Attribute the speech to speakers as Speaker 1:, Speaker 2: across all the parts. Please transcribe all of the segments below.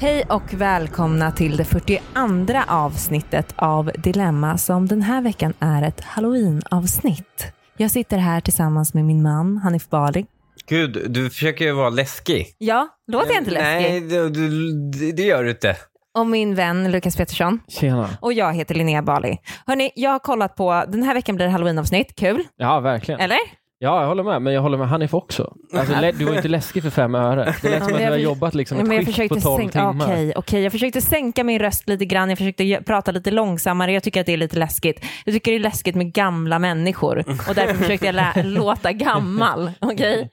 Speaker 1: Hej och välkomna till det 42 avsnittet av Dilemma som den här veckan är ett halloween-avsnitt. Jag sitter här tillsammans med min man Hanif Bali.
Speaker 2: Gud, du försöker ju vara läskig.
Speaker 1: Ja, låter jag inte läskig?
Speaker 2: Nej, du, du, det gör du inte.
Speaker 1: Och min vän Lukas Petersson.
Speaker 3: Tjena.
Speaker 1: Och jag heter Linnea Bali. Hörni, jag har kollat på, den här veckan blir det halloween-avsnitt. Kul,
Speaker 3: Ja, verkligen.
Speaker 1: eller?
Speaker 3: Ja, jag håller med, men jag håller med Hanif också. Alltså, lä- du var inte läskig för fem öre. Det lät som att du har jobbat liksom
Speaker 1: Men jag
Speaker 3: ett skift
Speaker 1: försökte
Speaker 3: på tolv
Speaker 1: sänka,
Speaker 3: timmar.
Speaker 1: Okej, okej. jag försökte sänka min röst lite grann. Jag försökte gö- prata lite långsammare. Jag tycker att det är lite läskigt. Jag tycker det är läskigt med gamla människor och därför försökte jag lä- låta gammal. Okej?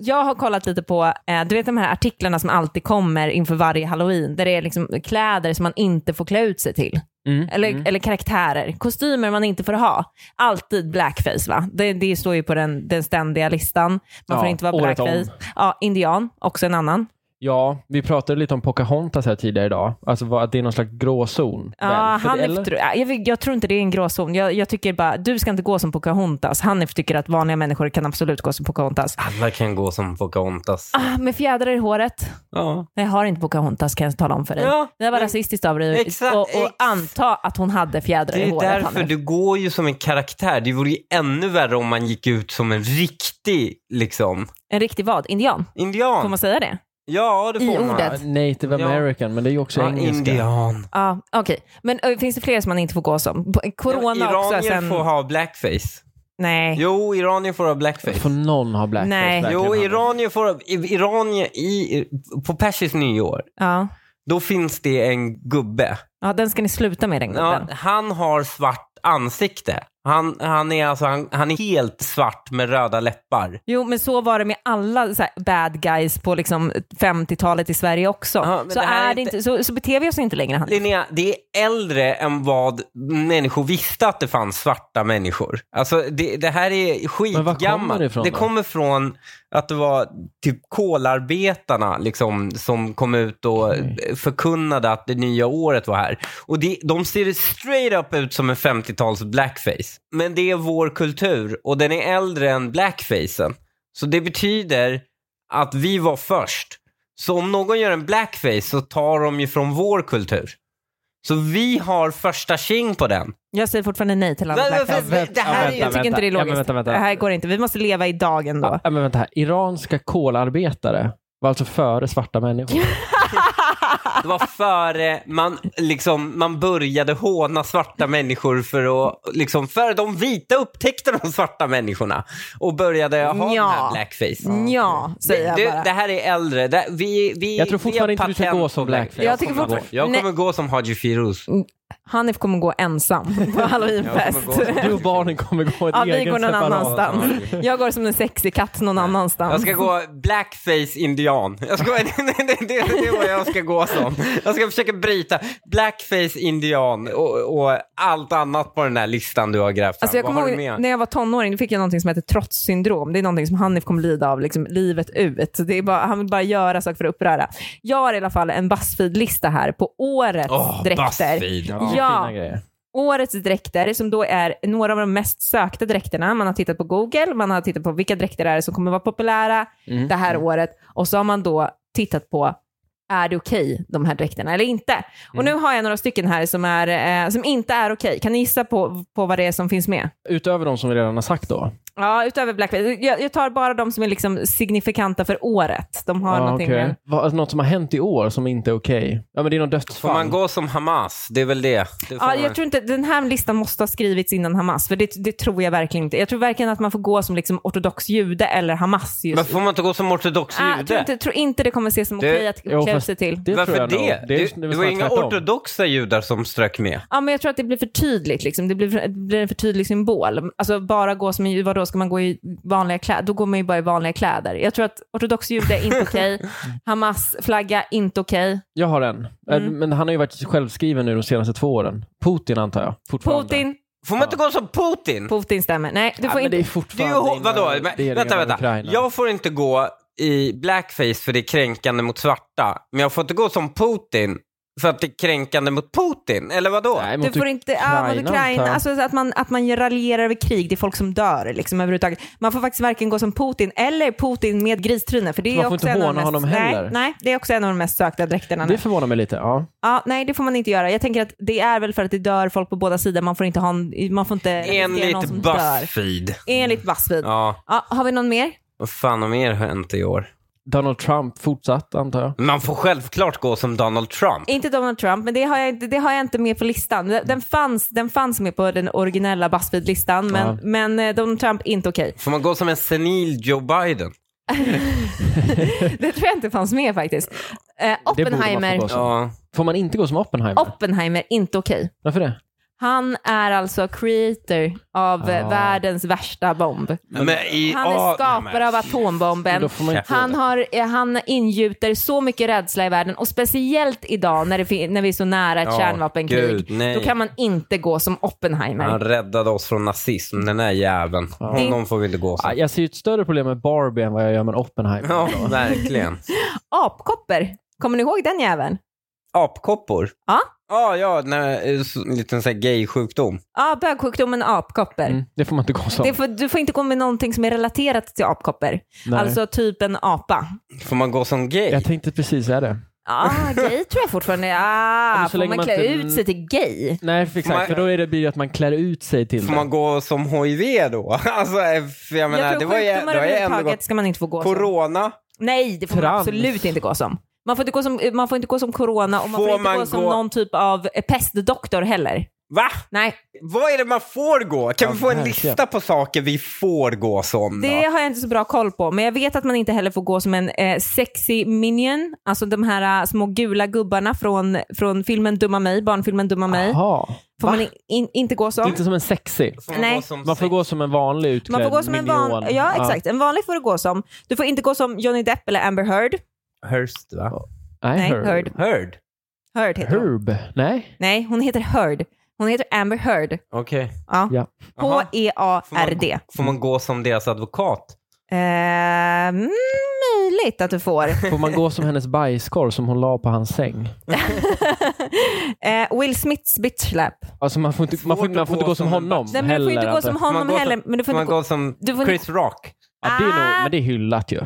Speaker 1: Jag har kollat lite på, eh, du vet de här artiklarna som alltid kommer inför varje halloween, där det är liksom kläder som man inte får klä ut sig till.
Speaker 3: Mm.
Speaker 1: Eller, eller karaktärer, kostymer man inte får ha. Alltid blackface va? Det, det står ju på den, den ständiga listan. Man
Speaker 3: Ja,
Speaker 1: får inte vara
Speaker 3: året om.
Speaker 1: blackface. Ja, indian, också en annan.
Speaker 3: Ja, vi pratade lite om Pocahontas här tidigare idag. Alltså vad- att det är någon slags gråzon.
Speaker 1: Ja,
Speaker 3: väl? För det-
Speaker 1: Hanif,
Speaker 3: eller?
Speaker 1: tror- ja, jag, vet- jag tror inte det är en gråzon. Jag, jag tycker bara, du ska inte gå som Pocahontas. Hanif tycker att vanliga människor kan absolut gå som Pocahontas.
Speaker 2: Alla kan gå som Pocahontas.
Speaker 1: Ah, med fjädrar i håret.
Speaker 2: Ja.
Speaker 1: Jag har inte Pocahontas kan jag tala om för dig.
Speaker 2: Ja,
Speaker 1: det var
Speaker 2: men-
Speaker 1: rasistiskt av dig
Speaker 2: Exakt,
Speaker 1: och, och
Speaker 2: ex-
Speaker 1: anta att hon hade fjädrar
Speaker 2: Det
Speaker 1: i
Speaker 2: är
Speaker 1: håret.
Speaker 2: därför
Speaker 1: Hanif.
Speaker 2: du går ju som en karaktär. Det vore ju ännu värre om man gick ut som en riktig liksom,
Speaker 1: En riktig vad? Indian? Får
Speaker 2: indian.
Speaker 1: man säga det?
Speaker 2: Ja, det
Speaker 1: I
Speaker 2: får man.
Speaker 1: ordet.
Speaker 3: Ja, Native
Speaker 2: Ja.
Speaker 3: American, men det är ju också
Speaker 2: Ja,
Speaker 3: engelska.
Speaker 2: indian.
Speaker 1: Ja, okej. Men ö, finns det fler som man inte får gå som? P- Corona
Speaker 2: ja,
Speaker 1: också.
Speaker 2: iranier
Speaker 1: Sen...
Speaker 2: får ha blackface.
Speaker 1: Nej.
Speaker 2: Jo, iranier får ha
Speaker 3: Får
Speaker 2: blackface.
Speaker 3: någon ha blackface?
Speaker 1: Nej.
Speaker 3: verkligen,
Speaker 2: Jo,
Speaker 3: Hanif?
Speaker 2: iranier får ha... i- Iranier i... På persiskt nyår,
Speaker 1: Ja.
Speaker 2: då finns det en gubbe.
Speaker 1: ja, den ska ni sluta med den
Speaker 2: Ja,
Speaker 1: gubben.
Speaker 2: han har svart ansikte. Han, han, är alltså, han, han är helt svart med röda läppar.
Speaker 1: Jo, men så var det med alla så här, bad guys på liksom 50-talet i Sverige också.
Speaker 2: Ja, men
Speaker 1: så,
Speaker 2: det här
Speaker 1: är
Speaker 2: är
Speaker 1: det
Speaker 2: inte-
Speaker 1: inte, så, så beter vi oss inte längre. Han.
Speaker 2: Linnea, det är äldre än vad människor visste att det fanns svarta människor. Alltså det, det här är
Speaker 3: Men var
Speaker 2: skitgammalt.
Speaker 3: kommer det ifrån
Speaker 2: det
Speaker 3: då?
Speaker 2: kommer från att det var typ kolarbetarna liksom, som kom ut och förkunnade att det nya året var här. Och det, de ser straight up ut som en 50-tals blackface. Men det är vår kultur och den är äldre än blackfacen. Så det betyder att vi var först. Så om någon gör en blackface så tar de ju från vår kultur. Så vi har första tjing på den.
Speaker 1: Jag säger fortfarande nej till alla
Speaker 2: Nej, men-
Speaker 1: blackface.
Speaker 3: Vänta,
Speaker 2: Det här är-
Speaker 3: vänta,
Speaker 1: Jag tycker
Speaker 3: vänta.
Speaker 1: inte det är
Speaker 3: Ja, men
Speaker 1: logiskt.
Speaker 3: vänta, vänta.
Speaker 1: Det här går inte. Vi måste leva i dagen då.
Speaker 3: Ja, men vänta här. Iranska kolarbetare var alltså före svarta människor.
Speaker 2: Det var före man, liksom, man började håna svarta människor för att, liksom, före de vita upptäckte de svarta människorna och började ha den
Speaker 1: Nja.
Speaker 2: här blackface.
Speaker 1: Mm. Ja, säger jag
Speaker 2: det,
Speaker 1: bara.
Speaker 2: det här är äldre. Det, vi, vi,
Speaker 3: Jag tror
Speaker 2: vi
Speaker 3: fortfarande
Speaker 2: har
Speaker 3: inte du ska
Speaker 2: patent
Speaker 3: gå som
Speaker 2: på
Speaker 3: blackface.
Speaker 1: Jag tycker
Speaker 2: kommer
Speaker 1: fortfarande-
Speaker 2: gå- jag kommer
Speaker 1: Nej.
Speaker 2: gå som Haji Firouz.
Speaker 1: Hanif kommer gå ensam på halloweenfest.
Speaker 2: Jag kommer gå-
Speaker 3: Du och barnen kommer gå ett
Speaker 1: Ja, vi
Speaker 3: egen
Speaker 1: går någon
Speaker 3: separat.
Speaker 1: annanstans. Jag går som en sexig katt någon
Speaker 2: Jag
Speaker 1: annanstans.
Speaker 2: ska gå blackface indian. Jag ska, det, det, det, det är vad jag ska gå som. Jag ska försöka bryta blackface indian och, och allt annat på den här listan du har grävt fram.
Speaker 1: Alltså jag
Speaker 2: vad
Speaker 1: kommer
Speaker 2: har du
Speaker 1: ihåg,
Speaker 2: med?
Speaker 1: när jag var tonåring då fick jag någonting som heter trotssyndrom. Det är någonting som Hanif kommer lida av liksom, livet ut. Så Det är bara, han vill bara göra saker för att uppröra. Jag har i alla fall en Buzzfeed-lista här på årets
Speaker 2: Åh,
Speaker 1: dräkter.
Speaker 2: Buzzfeed.
Speaker 3: Ja,
Speaker 2: Ja.
Speaker 3: det är
Speaker 1: Ja.
Speaker 3: fina grejer.
Speaker 1: Årets dräkter som då är några av de mest sökta dräkterna. Man har tittat på Google, man har tittat på vilka dräkter det är som kommer vara populära
Speaker 3: Mm.
Speaker 1: det här året och så har man då tittat på är det okej de här dräkterna eller inte? Och
Speaker 2: Mm.
Speaker 1: nu har jag några stycken här som, är, eh, som inte är okej. Kan ni gissa på, på vad det är som finns med?
Speaker 3: Utöver de som vi redan har sagt då.
Speaker 1: Ja, utöver Blackface. Jag, jag tar bara de som är liksom signifikanta för året. De har
Speaker 3: Ja,
Speaker 1: någonting
Speaker 3: okej.
Speaker 1: med...
Speaker 3: Vad- alltså, något som har hänt i år som inte är okej. Ja, men det är något dödsfall.
Speaker 2: Får man gå som Hamas? Det är väl det. det får
Speaker 1: Ja,
Speaker 2: man.
Speaker 1: jag tror inte, den här listan måste ha skrivits innan Hamas, för det, det tror jag verkligen inte. Jag tror verkligen att man får gå som liksom ortodox jude eller Hamas just
Speaker 2: Men får man inte gå som ortodox
Speaker 1: Ah,
Speaker 2: jude?
Speaker 1: tror, inte, tror inte det kommer ses som
Speaker 2: Det-
Speaker 1: okej
Speaker 3: Jo,
Speaker 1: att klä ut
Speaker 3: fast
Speaker 1: sig till.
Speaker 3: Det
Speaker 2: Varför
Speaker 3: tror jag
Speaker 2: det?
Speaker 3: nog.
Speaker 2: Det,
Speaker 3: är-
Speaker 2: det,
Speaker 3: är väl
Speaker 2: var
Speaker 3: snarare
Speaker 2: inga
Speaker 3: tvärtom.
Speaker 2: ortodoxa judar som strök med.
Speaker 1: Ja, men jag tror att det blir för tydligt. Liksom. Det, blir för, det blir en för tydlig symbol. Alltså bara gå som, i- vadå, ska man gå i vanliga kläder? Då går man ju bara i vanliga kläder. Jag tror att ortodox jude är inte okej. Hamas flagga, inte okej.
Speaker 3: Jag har en. Eh,
Speaker 1: Mm.
Speaker 3: Men han har ju varit självskriven nu de senaste två åren. Putin antar jag. Fortfarande.
Speaker 1: Putin,
Speaker 2: Får man inte gå som Putin?
Speaker 1: Putin stämmer. Nej, du
Speaker 3: Ja,
Speaker 1: får
Speaker 3: men
Speaker 1: inte.
Speaker 3: det
Speaker 2: Det är
Speaker 3: är
Speaker 2: ju,
Speaker 3: fortfarande
Speaker 2: ho- vadå?
Speaker 3: innan- det är
Speaker 2: Men, vänta,
Speaker 3: redan
Speaker 2: vänta.
Speaker 3: Ukraina.
Speaker 2: Jag får inte gå i blackface för det är kränkande mot svarta. Men jag får inte gå som Putin För att det är kränkande mot Putin, eller vadå?
Speaker 3: Nej,
Speaker 1: Du
Speaker 3: mot
Speaker 1: får inte, ja, mot Ukraina,
Speaker 3: antar jag.
Speaker 1: alltså så att man, att man raljerar över krig, det är folk som dör liksom överhuvudtaget. Man får faktiskt varken gå som Putin eller Putin med gristryne för det är
Speaker 3: Man får
Speaker 1: också
Speaker 3: inte
Speaker 1: en av de
Speaker 3: håna
Speaker 1: mest,
Speaker 3: honom
Speaker 1: Nej,
Speaker 3: heller.
Speaker 1: nej, det är också en av de mest sökta dräkterna nu.
Speaker 3: Det förvånar mig lite. Ja.
Speaker 1: Ja, nej, det får man inte göra. Jag tänker att det är väl för att det dör folk på båda sidor, man får inte ha en, man får inte riskera någon
Speaker 2: Enligt
Speaker 1: som dör.
Speaker 2: Buzzfeed.
Speaker 1: Enligt Buzzfeed. Ja.
Speaker 2: Ja,
Speaker 1: har vi någon mer?
Speaker 2: vad fan har mer hänt i år?
Speaker 3: Donald Trump fortsatt, antar jag.
Speaker 2: Man får självklart gå som Donald Trump.
Speaker 1: Inte Donald Trump, men det har jag inte, det har jag inte med på listan. Den- Den fanns, den fanns med på den originella Buzzfeed-listan, men,
Speaker 3: Ja.
Speaker 1: men eh, Donald Trump inte okej.
Speaker 2: Får man gå som en senil Joe Biden?
Speaker 1: Det tror jag inte fanns med faktiskt. Eh,
Speaker 3: borde man få
Speaker 1: Oppenheimer,
Speaker 3: gå som.
Speaker 2: Ja.
Speaker 3: Får man inte gå som Oppenheimer?
Speaker 1: Oppenheimer, inte okej.
Speaker 3: Varför det?
Speaker 1: Han är alltså creator av eh,
Speaker 3: Ah.
Speaker 1: världens värsta bomb.
Speaker 2: Men i,
Speaker 1: Han är
Speaker 2: ja, men-
Speaker 1: skapare av
Speaker 3: Men
Speaker 1: atombomben.
Speaker 3: då får man inte...
Speaker 1: Han, har, eh, han ingjuter så mycket rädsla i världen och speciellt idag när, det, fin- när vi är så nära ett
Speaker 2: Ja,
Speaker 1: kärnvapenkrig.
Speaker 2: gud, nej.
Speaker 1: då kan man inte gå som Oppenheimer.
Speaker 2: Han räddade oss från nazism, den där jäveln. Honom får vi inte gå
Speaker 3: Ah,
Speaker 2: som.
Speaker 3: Jag ser ju ett större problem med Barbie än vad jag gör med Oppenheimer.
Speaker 2: Ja, verkligen.
Speaker 1: Apkoppor, kommer ni ihåg den jäveln?
Speaker 2: Apkoppor?
Speaker 1: Ja.
Speaker 2: Ja, ja, nej, eh, så- en liten sån här gay-sjukdom.
Speaker 1: Ja, bögsjukdomen apkoppor.
Speaker 3: Mm, det får man inte gå som.
Speaker 1: Det får, du får inte gå med någonting som är relaterat till apkoppor.
Speaker 3: Nej.
Speaker 1: Alltså typ en apa.
Speaker 2: Får man gå som gay?
Speaker 3: Jag tänkte precis säga det.
Speaker 1: Ja, gay tror jag fortfarande.
Speaker 3: men
Speaker 1: Ah,
Speaker 3: så
Speaker 1: får
Speaker 3: länge
Speaker 1: man
Speaker 3: man
Speaker 1: klä
Speaker 3: inte-
Speaker 1: ut sig till gay?
Speaker 3: Nej, för exakt.
Speaker 2: man-
Speaker 3: För då är det, blir det att man klär ut sig till
Speaker 2: Får
Speaker 3: det.
Speaker 2: man gå som hiv då? Alltså, eh, för jag menar,
Speaker 1: jag
Speaker 2: det
Speaker 1: tror
Speaker 2: var ju,
Speaker 1: sjukdomar
Speaker 2: det har ju ändå
Speaker 1: överhuvudtaget
Speaker 2: gått
Speaker 1: ska man inte få gå som.
Speaker 2: corona.
Speaker 1: Nej, det får man
Speaker 3: Trans.
Speaker 1: absolut inte gå som. Man får inte gå som, man får inte gå som corona och man får,
Speaker 2: Får
Speaker 1: inte
Speaker 2: man
Speaker 1: gå, som
Speaker 2: gå-
Speaker 1: någon typ av eh, pestdoktor heller.
Speaker 2: Va?
Speaker 1: Nej,
Speaker 2: Vad är det man får gå? Kan
Speaker 3: Ja,
Speaker 2: vi få en
Speaker 3: verkligen.
Speaker 2: lista på saker vi får gå som? Då?
Speaker 1: det har jag inte så bra koll på. Men jag vet att man inte heller får gå som en eh, sexy minion. Alltså de här eh, små gula gubbarna från, från filmen Dumma mig, barnfilmen Dumma mig.
Speaker 3: Jaha.
Speaker 1: Får
Speaker 3: Va?
Speaker 1: man in, in, inte gå som.
Speaker 3: Inte som en sexy.
Speaker 2: Får man
Speaker 1: Nej.
Speaker 2: gå som
Speaker 3: Man får
Speaker 2: sex-
Speaker 3: gå som en vanlig utklädd
Speaker 1: Man får gå som en
Speaker 3: minion.
Speaker 1: vanlig, ja exakt, en vanlig får du gå som. Du får inte gå som Johnny Depp eller Amber Heard.
Speaker 2: Hurst, va?
Speaker 1: Nej,
Speaker 3: Nej, Herb.
Speaker 1: Heard.
Speaker 2: Heard?
Speaker 1: Heard heter hon.
Speaker 3: Herb. Nej.
Speaker 1: Nej, hon heter Heard. Hon heter Amber Heard.
Speaker 2: Okej.
Speaker 1: Ja. E
Speaker 3: Ja.
Speaker 2: Jaha. Får man-
Speaker 1: H-E-A-R-D.
Speaker 2: Får man gå som deras advokat?
Speaker 1: Eh, mm, möjligt att du får.
Speaker 3: Får man gå som hennes bajskorv som hon la på hans säng?
Speaker 1: Eh, Will Smiths bitchlap.
Speaker 3: Alltså man får inte, man får,
Speaker 2: Svårt att
Speaker 3: man får inte
Speaker 2: gå
Speaker 3: gå som
Speaker 2: som en
Speaker 3: honom
Speaker 1: Nej, men du
Speaker 3: heller.
Speaker 1: får inte gå
Speaker 3: antar
Speaker 1: som
Speaker 3: jag.
Speaker 1: honom
Speaker 2: man gå
Speaker 1: heller.
Speaker 2: som-
Speaker 1: Men du får
Speaker 2: Får man
Speaker 1: inte gå...
Speaker 2: gå som
Speaker 1: Du får inte-
Speaker 2: Chris Rock?
Speaker 3: Ja, det är
Speaker 1: Ah!
Speaker 3: nog, men det är hyllat ju.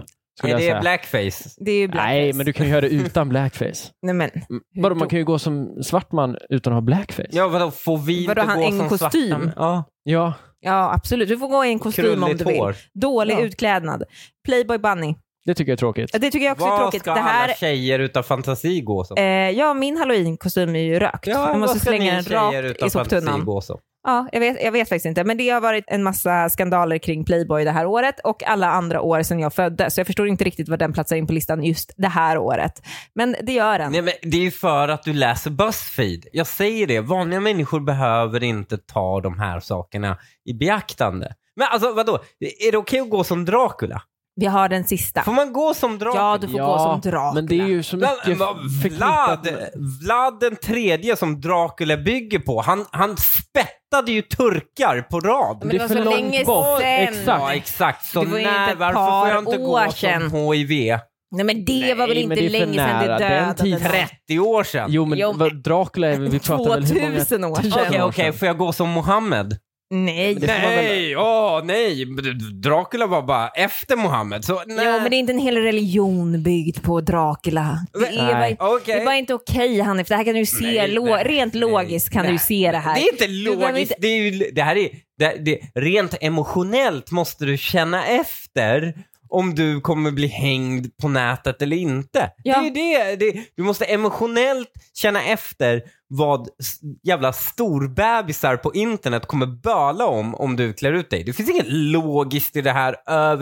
Speaker 2: Nej,
Speaker 3: Skulle jag
Speaker 2: det
Speaker 3: säga.
Speaker 2: är blackface.
Speaker 1: Det är ju blackface.
Speaker 3: Nej, men du kan ju göra det utan blackface.
Speaker 1: Nej, men.
Speaker 3: Vadå, man kan ju gå som svart man utan att ha blackface.
Speaker 2: Ja, vadå, får vi
Speaker 1: Vadå,
Speaker 2: inte
Speaker 1: han-
Speaker 2: gå
Speaker 1: en
Speaker 2: som
Speaker 1: kostym?
Speaker 2: svarta? män? Ja.
Speaker 3: Ja.
Speaker 1: Ja, absolut. Du får gå i en kostym om
Speaker 2: Krulligt
Speaker 1: du vill.
Speaker 2: hår.
Speaker 1: Dålig
Speaker 3: Ja.
Speaker 1: utklädnad. Playboy Bunny.
Speaker 3: det tycker jag är tråkigt.
Speaker 1: Det tycker jag också är
Speaker 2: Vad
Speaker 1: tråkigt.
Speaker 2: ska
Speaker 1: Det här
Speaker 2: alla tjejer utan fantasi gå som?
Speaker 1: Eh, ja, min halloweenkostym är ju rökt. jag måste
Speaker 2: vad ska
Speaker 1: slänga
Speaker 2: ni
Speaker 1: den
Speaker 2: tjejer
Speaker 1: rakt i
Speaker 2: utan fantasi
Speaker 1: soptunnan.
Speaker 2: gå som?
Speaker 1: Ja, jag, vet, jag vet faktiskt inte, men det har varit en massa skandaler kring Playboy det här året och alla andra år sedan jag föddes. Så jag förstår inte riktigt var den platsar in på listan just det här året. Men det gör den.
Speaker 2: Nej, men det är ju för att du läser Buzzfeed. Jag säger det, vanliga människor behöver inte ta de här sakerna i beaktande. Men alltså vadå, är det okej att gå som Dracula?
Speaker 1: Vi har den sista.
Speaker 2: Får man gå som Dracula?
Speaker 1: Ja, du får gå som Dracula.
Speaker 3: men det är ju så mycket
Speaker 2: Men, men,
Speaker 3: förknippat
Speaker 2: Vlad,
Speaker 3: med...
Speaker 2: Vlad den tredje som Dracula bygger på, han, han spettade ju turkar på rad.
Speaker 1: Men det
Speaker 3: det
Speaker 1: var
Speaker 3: är
Speaker 1: så
Speaker 3: för långt
Speaker 1: länge
Speaker 3: bort.
Speaker 1: sedan.
Speaker 2: Ja,
Speaker 3: Exakt.
Speaker 2: exakt. Så
Speaker 1: Det var ju inte
Speaker 2: när,
Speaker 1: ett
Speaker 2: varför får jag
Speaker 1: par
Speaker 2: inte
Speaker 1: år
Speaker 2: gå
Speaker 1: sedan.
Speaker 2: som HIV?
Speaker 1: Nej, men det var väl
Speaker 3: Nej,
Speaker 1: inte
Speaker 3: men det är för
Speaker 1: länge sedan det
Speaker 3: nära. Den
Speaker 1: dödade
Speaker 3: tiden-
Speaker 1: den.
Speaker 2: 30 år sedan.
Speaker 3: Jo, men
Speaker 1: Jo,
Speaker 3: vad- Dracula, är- vi pratar väl hur många...
Speaker 1: 2000 år sedan.
Speaker 3: tusen
Speaker 2: Okej, okej,
Speaker 3: år sedan.
Speaker 2: får jag gå som Mohammed?
Speaker 1: Nej.
Speaker 3: Det får man väl-
Speaker 2: Nej, åh nej. Dracula var bara efter Mohammed. Så nej.
Speaker 1: Jo, men det är inte en hel religion byggd på Dracula. Det är,
Speaker 3: Nej.
Speaker 1: bara, inte-
Speaker 2: Okej.
Speaker 1: det är bara inte okej Hanif. Det här kan du ju se.
Speaker 2: Nej,
Speaker 1: lo-
Speaker 2: nej,
Speaker 1: rent
Speaker 2: nej,
Speaker 1: logiskt kan du ju
Speaker 2: nej,
Speaker 1: se det här.
Speaker 2: Det är inte
Speaker 1: Du behöver
Speaker 2: logiskt.
Speaker 1: inte-
Speaker 2: Det, är ju, det här är, det, det, rent emotionellt måste du känna efter om du kommer bli hängd på nätet eller inte.
Speaker 1: Ja.
Speaker 2: Det är ju det, det. Du måste emotionellt känna efter vad s- jävla storbebisar på internet kommer böla om om du klär ut dig. Det finns inget logiskt i det här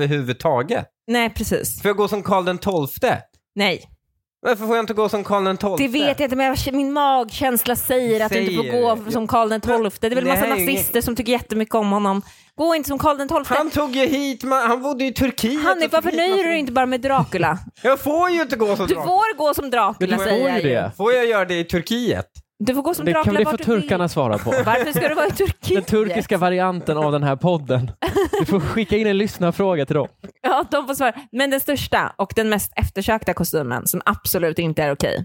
Speaker 2: överhuvudtaget.
Speaker 1: Nej, precis.
Speaker 2: Får jag gå som Karl den tolfte?
Speaker 1: Nej,
Speaker 2: Varför får jag inte gå som Karl den tolfte?
Speaker 1: det vet jag inte, men jag, min magkänsla säger att du inte
Speaker 2: Säger
Speaker 1: får
Speaker 2: det.
Speaker 1: gå som Karl den tolfte. Det är väl en massa
Speaker 2: Det här är ju
Speaker 1: nazister som tycker jättemycket om honom. Gå inte som Karl den tolfte.
Speaker 2: Han tog ju hit, man, han bodde i Turkiet.
Speaker 1: Hanif,
Speaker 2: och tog
Speaker 1: varför
Speaker 2: hit
Speaker 1: nöjer
Speaker 2: massa-
Speaker 1: du dig inte bara med Dracula?
Speaker 2: Jag får ju inte gå som
Speaker 1: Du
Speaker 2: Dracula.
Speaker 1: får gå som
Speaker 3: Men
Speaker 1: Dracula,
Speaker 3: du får
Speaker 1: säger
Speaker 3: ju
Speaker 1: jag ju.
Speaker 3: det.
Speaker 2: Får jag göra det i Turkiet?
Speaker 1: Du får gå som
Speaker 3: Det kan
Speaker 1: Dracula
Speaker 3: väl det
Speaker 1: vart
Speaker 3: får
Speaker 1: du vill.
Speaker 3: turkarna svara på.
Speaker 1: Varför ska du vara i
Speaker 3: Den
Speaker 1: Turkiet?
Speaker 3: turkiska varianten av den här podden. Du får skicka in en lyssnarfråga till dem.
Speaker 1: Ja, de får svara. Men den största och den mest eftersökta kostymen som absolut inte är okej.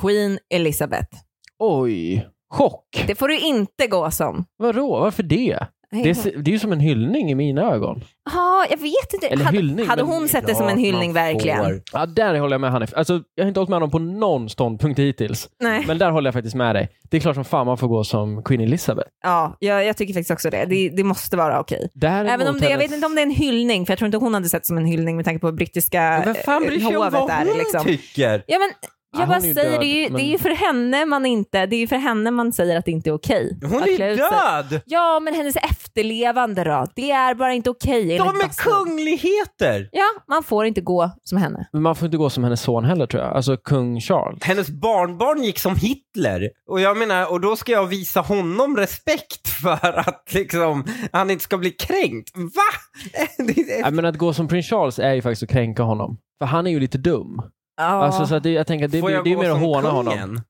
Speaker 1: Queen Elizabeth.
Speaker 3: Oj, chock.
Speaker 1: Det får du inte gå som.
Speaker 3: Vadå, varför det? Det är, s- det är ju som en hyllning i mina ögon.
Speaker 1: Ja, jag vet inte.
Speaker 3: Eller
Speaker 1: hade,
Speaker 3: hyllning,
Speaker 1: hade
Speaker 3: men-
Speaker 1: hon sett det som en
Speaker 2: Klart
Speaker 1: hyllning
Speaker 2: man
Speaker 1: verkligen?
Speaker 2: får.
Speaker 3: Ja, där håller jag med Hanif. Alltså, jag har inte hållit med honom på någon ståndpunkt hittills.
Speaker 1: Nej,
Speaker 3: Men där håller jag faktiskt med dig. Det är klart som fan man får gå som Queen Elizabeth.
Speaker 1: ja, jag, jag tycker faktiskt också det. Det, det måste vara okej.
Speaker 3: Däremot
Speaker 1: Även om det, jag
Speaker 3: hennes-
Speaker 1: vet inte om det är en hyllning, för jag tror inte hon hade sett som en hyllning med tanke på hur brittiska
Speaker 2: Vem fan
Speaker 1: eh,
Speaker 2: bryr sig om
Speaker 1: hovet
Speaker 2: vad
Speaker 1: är.
Speaker 2: hon
Speaker 1: Liksom.
Speaker 2: tycker?
Speaker 1: Ja, men, jag
Speaker 3: hon
Speaker 1: bara
Speaker 3: är ju
Speaker 1: säger,
Speaker 3: död,
Speaker 1: det, är ju,
Speaker 3: men-
Speaker 1: det är ju för henne man inte, det är ju för henne man säger att det inte är okej.
Speaker 2: Hon
Speaker 1: att
Speaker 2: är
Speaker 1: klä ut sig.
Speaker 2: död!
Speaker 1: Ja, men hennes efterlevande då? Det är bara inte okej. enligt
Speaker 2: De är
Speaker 1: Bastard.
Speaker 2: kungligheter!
Speaker 1: Ja, man får inte gå som henne.
Speaker 3: Men man får inte gå som hennes son heller tror jag. Alltså kung Charles.
Speaker 2: Hennes barnbarn gick som Hitler. Och jag menar, och då ska jag visa honom respekt för att liksom, han inte ska bli kränkt. Va? Det är-
Speaker 3: Nej, men att gå som prins Charles är ju faktiskt att kränka honom. För han är ju lite dum.
Speaker 1: Ja,
Speaker 3: Alltså, så att det, jag tänker att det,
Speaker 2: Får
Speaker 3: blir-
Speaker 2: jag
Speaker 3: det är
Speaker 2: gå
Speaker 3: mer att
Speaker 2: som
Speaker 3: håna honom.
Speaker 2: kungen?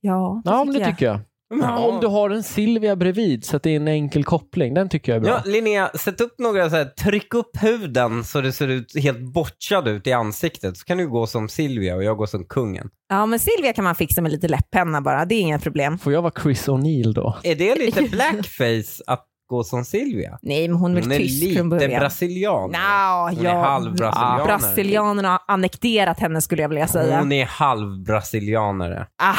Speaker 1: ja, det
Speaker 3: Ja, men
Speaker 1: tycker
Speaker 3: det
Speaker 1: jag.
Speaker 3: tycker jag.
Speaker 2: Ja.
Speaker 3: Om du har en Silvia bredvid så att det är en enkel koppling. Den tycker jag är bra.
Speaker 2: Ja, Linnea, sätt upp några så här, tryck upp huden så det ser ut helt bortchad ut i ansiktet. Så kan du gå som Silvia och jag går som kungen.
Speaker 1: Ja, men Silvia kan man fixa med lite läpppenna bara. Det är inga problem.
Speaker 3: Får jag vara Chris O'Neill då?
Speaker 2: Är det lite blackface att gå som Silvia?
Speaker 1: Nej, men hon är
Speaker 2: Hon är
Speaker 1: väl tysk
Speaker 2: lite
Speaker 1: från början.
Speaker 2: brasilian.
Speaker 1: Nja,
Speaker 2: Hon
Speaker 1: ja.
Speaker 2: är halvbrasilianare.
Speaker 1: Brasilianerna har annekterat henne skulle jag vilja säga.
Speaker 2: Hon är halvbrasilianare.
Speaker 1: Ah,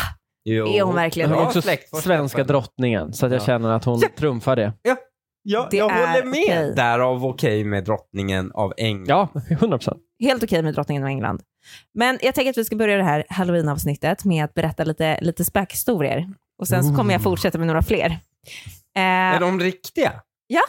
Speaker 2: Jo.
Speaker 1: Är hon verkligen
Speaker 3: Men
Speaker 1: det?
Speaker 3: hon är
Speaker 2: Ja,
Speaker 3: också
Speaker 2: släktforskare.
Speaker 3: svenska drottningen, så att jag
Speaker 2: Ja.
Speaker 3: känner att hon
Speaker 2: Ja.
Speaker 3: trumfar det.
Speaker 2: Ja,
Speaker 1: Det
Speaker 2: jag
Speaker 1: är
Speaker 2: håller med.
Speaker 1: okej.
Speaker 2: Därav okej med drottningen av England.
Speaker 3: Ja, 100 procent.
Speaker 1: helt okej med drottningen av England. Men jag tänker att vi ska börja det här halloween-avsnittet med att berätta lite, lite spökhistorier. Och sen så kommer jag fortsätta med några fler.
Speaker 2: Är
Speaker 1: Eh,
Speaker 2: de riktiga?
Speaker 1: Ja.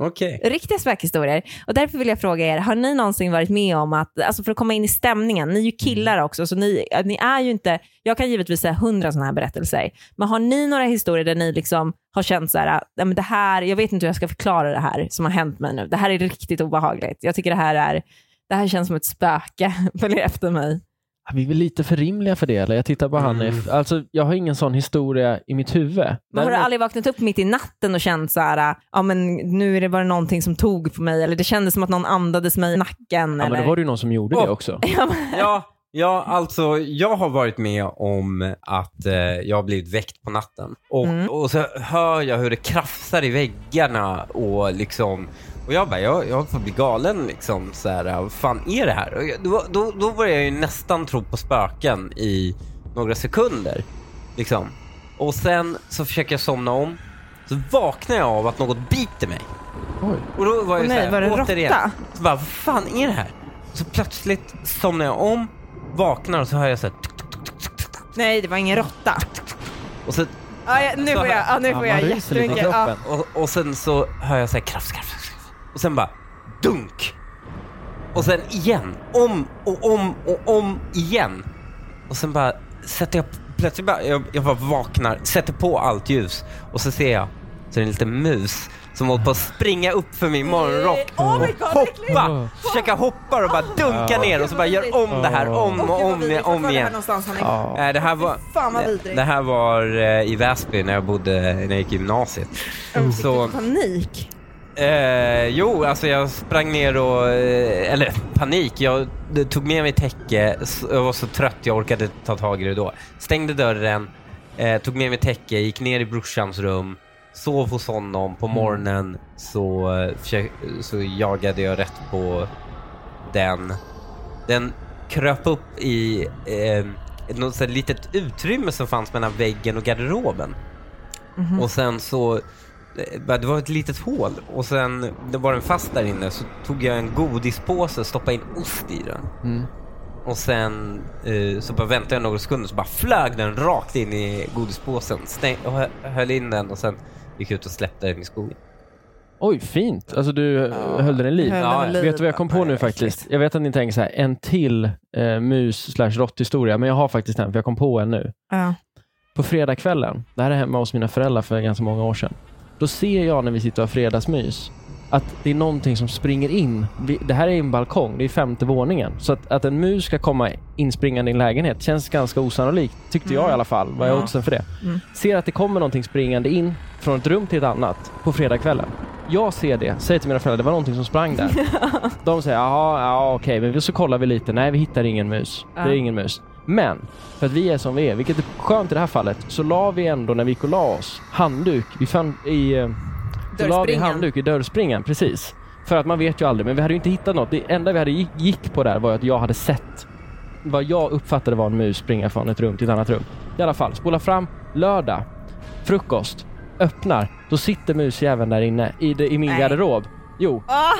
Speaker 2: Okej.
Speaker 1: riktiga spökhistorier. Och därför vill jag fråga er, har ni någonsin varit med om att, alltså för att komma in i stämningen, ni är ju
Speaker 3: Mm.
Speaker 1: killar också, så ni, eh, ni är ju inte, jag kan givetvis säga hundra sådana här berättelser, men har ni några historier där ni liksom har känt så här, "Nej, men det här, jag vet inte hur jag ska förklara det här som har hänt mig nu, det här är riktigt obehagligt, jag tycker det här är, det här känns som ett spöke, följer efter mig.
Speaker 3: Ja, Vi är väl lite för rimliga för det eller? Jag tittar på
Speaker 2: Mm.
Speaker 3: Hanif. Alltså, jag har ingen sån historia i mitt huvud.
Speaker 1: Men har du
Speaker 3: Däremot-
Speaker 1: aldrig vaknat upp mitt i natten och känt så här, ja men nu är det bara någonting som tog på mig eller det kändes som att någon andades mig i nacken.
Speaker 3: Ja,
Speaker 1: eller...
Speaker 3: men det var det ju någon som gjorde
Speaker 2: Åh.
Speaker 3: det också.
Speaker 1: Ja, men-
Speaker 2: Ja, ja, alltså jag har varit med om att eh, jag har blivit väckt på natten. Och,
Speaker 1: Mm.
Speaker 2: och så hör jag hur det krafsar i väggarna och liksom och jag bara, jag, jag håller på att bli galen liksom. Så här, vad fan är det här? Och jag, då, då, då började jag ju nästan tro på spöken i några sekunder. Liksom. Och sen så försöker jag somna om. Så vaknar jag av att något biter mig.
Speaker 3: Oj.
Speaker 2: Och då var jag
Speaker 1: Åh
Speaker 2: så
Speaker 1: nej,
Speaker 2: här,
Speaker 1: var det en
Speaker 2: återigen,
Speaker 1: råtta?
Speaker 2: Så bara, vad fan är det här? Så plötsligt somnar jag om, vaknar och så hör jag så här, tuk, tuk, tuk, tuk, tuk, tuk.
Speaker 1: Nej, det var ingen råtta.
Speaker 2: och, så,
Speaker 1: Ja, jag- nu får jag, ja, nu
Speaker 3: Ja,
Speaker 1: får
Speaker 3: man
Speaker 1: jag
Speaker 3: ryser lite i
Speaker 1: jättemycket. Ja.
Speaker 3: kroppen.
Speaker 2: och, och sen så hör jag så här krafs, krafs, krafs. krafs. Och sen bara dunk. Och sen igen, om och om och om igen. Och sen bara sätter jag, plötsligt bara, jag, jag bara vaknar, sätter på allt ljus och så ser jag, så är det en liten mus som håller på att springa upp för min morgonrock
Speaker 1: Oh my god, vad äckligt.
Speaker 2: hoppa, försöka hoppa och bara dunka ner och så bara gör om det här om
Speaker 1: Åh,
Speaker 2: och
Speaker 1: gud, vad
Speaker 2: om,
Speaker 1: vidrigt. Vart var
Speaker 2: om
Speaker 1: det här
Speaker 2: igen.
Speaker 1: någonstans, Hanif?
Speaker 3: Ja.
Speaker 2: Nej, Det här var,
Speaker 1: Fan vad vidrigt.
Speaker 2: det här var eh, i Väsby när jag bodde, när jag gick i gymnasiet. Så,
Speaker 1: Panik.
Speaker 2: eh, jo, alltså jag sprang ner och, eh, eller panik, jag det tog med mig täcke, s- jag var så trött jag orkade inte ta tag i det då. Stängde dörren, eh, tog med mig täcke, gick ner i brorsans rum, sov hos honom. På morgonen så, eh, försök, så jagade jag rätt på den. Den kröp upp i eh, ett något sånt här litet utrymme som fanns mellan väggen och garderoben. Och sen så, eh, bara, det var ett litet hål och sen det var den fast där inne så tog jag en godispåse och stoppade in ost i den.
Speaker 3: Mm.
Speaker 2: Och sen eh, så bara väntade jag några sekunder så bara flög den rakt in i godispåsen. Stäng, och hö- höll in den och sen gick jag ut och släppte den i skogen.
Speaker 3: Oj, fint. Alltså du höll den i liv.
Speaker 1: höll
Speaker 2: Ja,
Speaker 1: den
Speaker 2: ja.
Speaker 1: vid liv.
Speaker 3: Vet du vad jag kom på
Speaker 1: Nej,
Speaker 3: nu
Speaker 1: äckligt.
Speaker 3: faktiskt? Jag vet att ni tänker så här, en till eh, mus slash råtthistoria, men jag har faktiskt en, för jag kom på en nu.
Speaker 1: Ja.
Speaker 3: På fredagskvällen, det här är hemma hos mina föräldrar för ganska många år sedan, då ser jag när vi sitter och har fredagsmys att det är någonting som springer in. Vi- Det här är en balkong, det är femte våningen. Så att, att en mus ska komma inspringande i en lägenhet känns ganska osannolikt, tyckte jag i alla fall. Vad är
Speaker 2: Ja.
Speaker 3: oddsen för det? Ser att det kommer någonting springande in från ett rum till ett annat på fredagskvällen. Jag ser det, säger till mina föräldrar, det var någonting som sprang där. De säger, jaha, ja okej, men så kollar vi lite. Nej, vi hittar ingen mus. Det
Speaker 1: Ja.
Speaker 3: är ingen mus. Men för att vi är som vi är, vilket är skönt i det här fallet, så la vi ändå när vi gick och la oss handduk i, fan, i eh, så la vi
Speaker 1: Dörrspringan.
Speaker 3: handduk i dörrspringan, precis. För att man vet ju aldrig, men vi hade ju inte hittat något. Det enda vi hade gick, gick på där var ju att jag hade sett vad jag uppfattade var en mus springa från ett rum till ett annat rum. I alla fall, spola fram, lördag, frukost, öppnar. Då sitter musjäveln där inne i, det, i min
Speaker 1: Nej.
Speaker 3: garderob. Jo,
Speaker 1: Ah!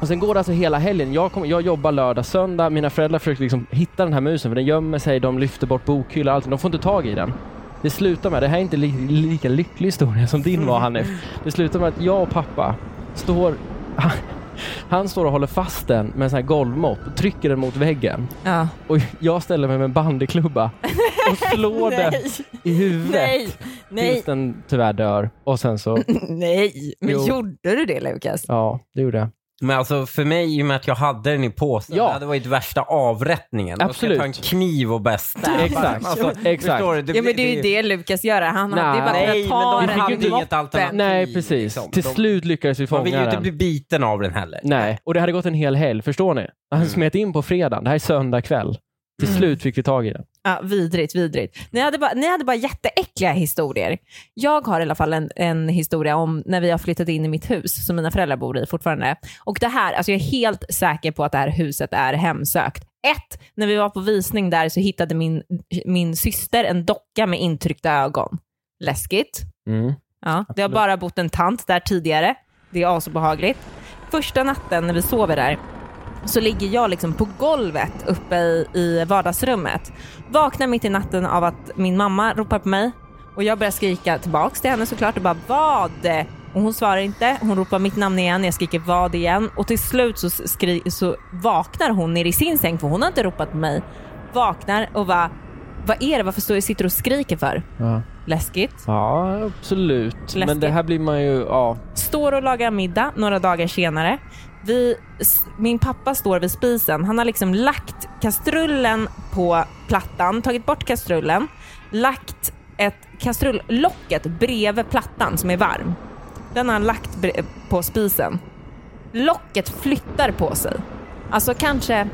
Speaker 3: och sen går det alltså hela helgen. Jag, kom, jag jobbar lördag, söndag. Mina föräldrar försöker liksom hitta den här musen för den gömmer sig, de lyfter bort bokhyllor och allting. De får inte tag i den. Det slutar med, det här är inte li, lika lycklig historia som din var Hanif. Det slutar med att jag och pappa står, han, står och håller fast den med en sån här golvmopp, trycker den mot väggen.
Speaker 1: Ja.
Speaker 3: Och jag ställer mig med en bandyklubba och slår den
Speaker 1: Nej,
Speaker 3: i huvudet.
Speaker 1: nej, nej,
Speaker 3: Tills den tyvärr dör. Och sen så,
Speaker 1: nej. Men
Speaker 3: Jo.
Speaker 1: gjorde du det Lukas?
Speaker 3: ja, det gjorde jag.
Speaker 2: Men alltså för mig, i och med att jag hade den i påsen,
Speaker 3: Ja.
Speaker 2: det hade varit värsta avrättningen.
Speaker 3: Absolut.
Speaker 2: Jag ska ta en kniv och bästa.
Speaker 3: Exakt. Exakt.
Speaker 2: Förstår du?
Speaker 1: Ja men det är ju det Lukas gör. Han hade ju bara
Speaker 3: Nej,
Speaker 1: kunnat ta
Speaker 2: men de
Speaker 1: den
Speaker 2: hade
Speaker 1: till
Speaker 2: inget
Speaker 1: moppen.
Speaker 2: alternativ.
Speaker 3: Nej,
Speaker 2: Fy,
Speaker 3: precis.
Speaker 2: liksom.
Speaker 3: Till
Speaker 2: De-
Speaker 3: slut lyckades vi fånga
Speaker 2: Man vill ju inte
Speaker 3: den.
Speaker 2: bli biten av den heller.
Speaker 3: Nej, och det hade gått en hel helg, förstår ni?
Speaker 2: Mm.
Speaker 3: Han smet in på fredagen, det här är söndag kväll. Till slut fick vi tag i den.
Speaker 1: Ja, vidrigt, vidrigt. Ni hade, bara, ni hade bara jätteäckliga historier. Jag har i alla fall en, en historia om när vi har flyttat in i mitt hus som mina föräldrar bor i fortfarande. Och det här, alltså jag är helt säker på att det här huset är hemsökt. Ett, när vi var på visning där så hittade min, min syster en docka med intryckta ögon. Läskigt.
Speaker 2: Mm.
Speaker 1: Ja, det har bara bott en tant där tidigare. Det är asobehagligt. Första natten när vi sover där så ligger jag liksom på golvet uppe i, i vardagsrummet. Vaknar mitt i natten av att min mamma ropar på mig och jag börjar skrika tillbaks till henne såklart och bara vad? Och hon svarar inte. Hon ropar mitt namn igen. Jag skriker vad igen och till slut så, skri- så vaknar hon ner i sin säng för hon har inte ropat på mig. Vaknar och bara vad är det? Varför står jag sitter du och skriker för?
Speaker 3: Ja.
Speaker 1: Läskigt.
Speaker 3: ja, absolut. Men det här blir man ju... Ja.
Speaker 1: Står och lagar middag några dagar senare. Vi, s- min pappa står vid spisen. Han har liksom lagt kastrullen på plattan, tagit bort kastrullen, lagt ett kastrulllocket bredvid plattan som är varm. Den har han lagt bre- på spisen. Locket flyttar på sig. Alltså kanske,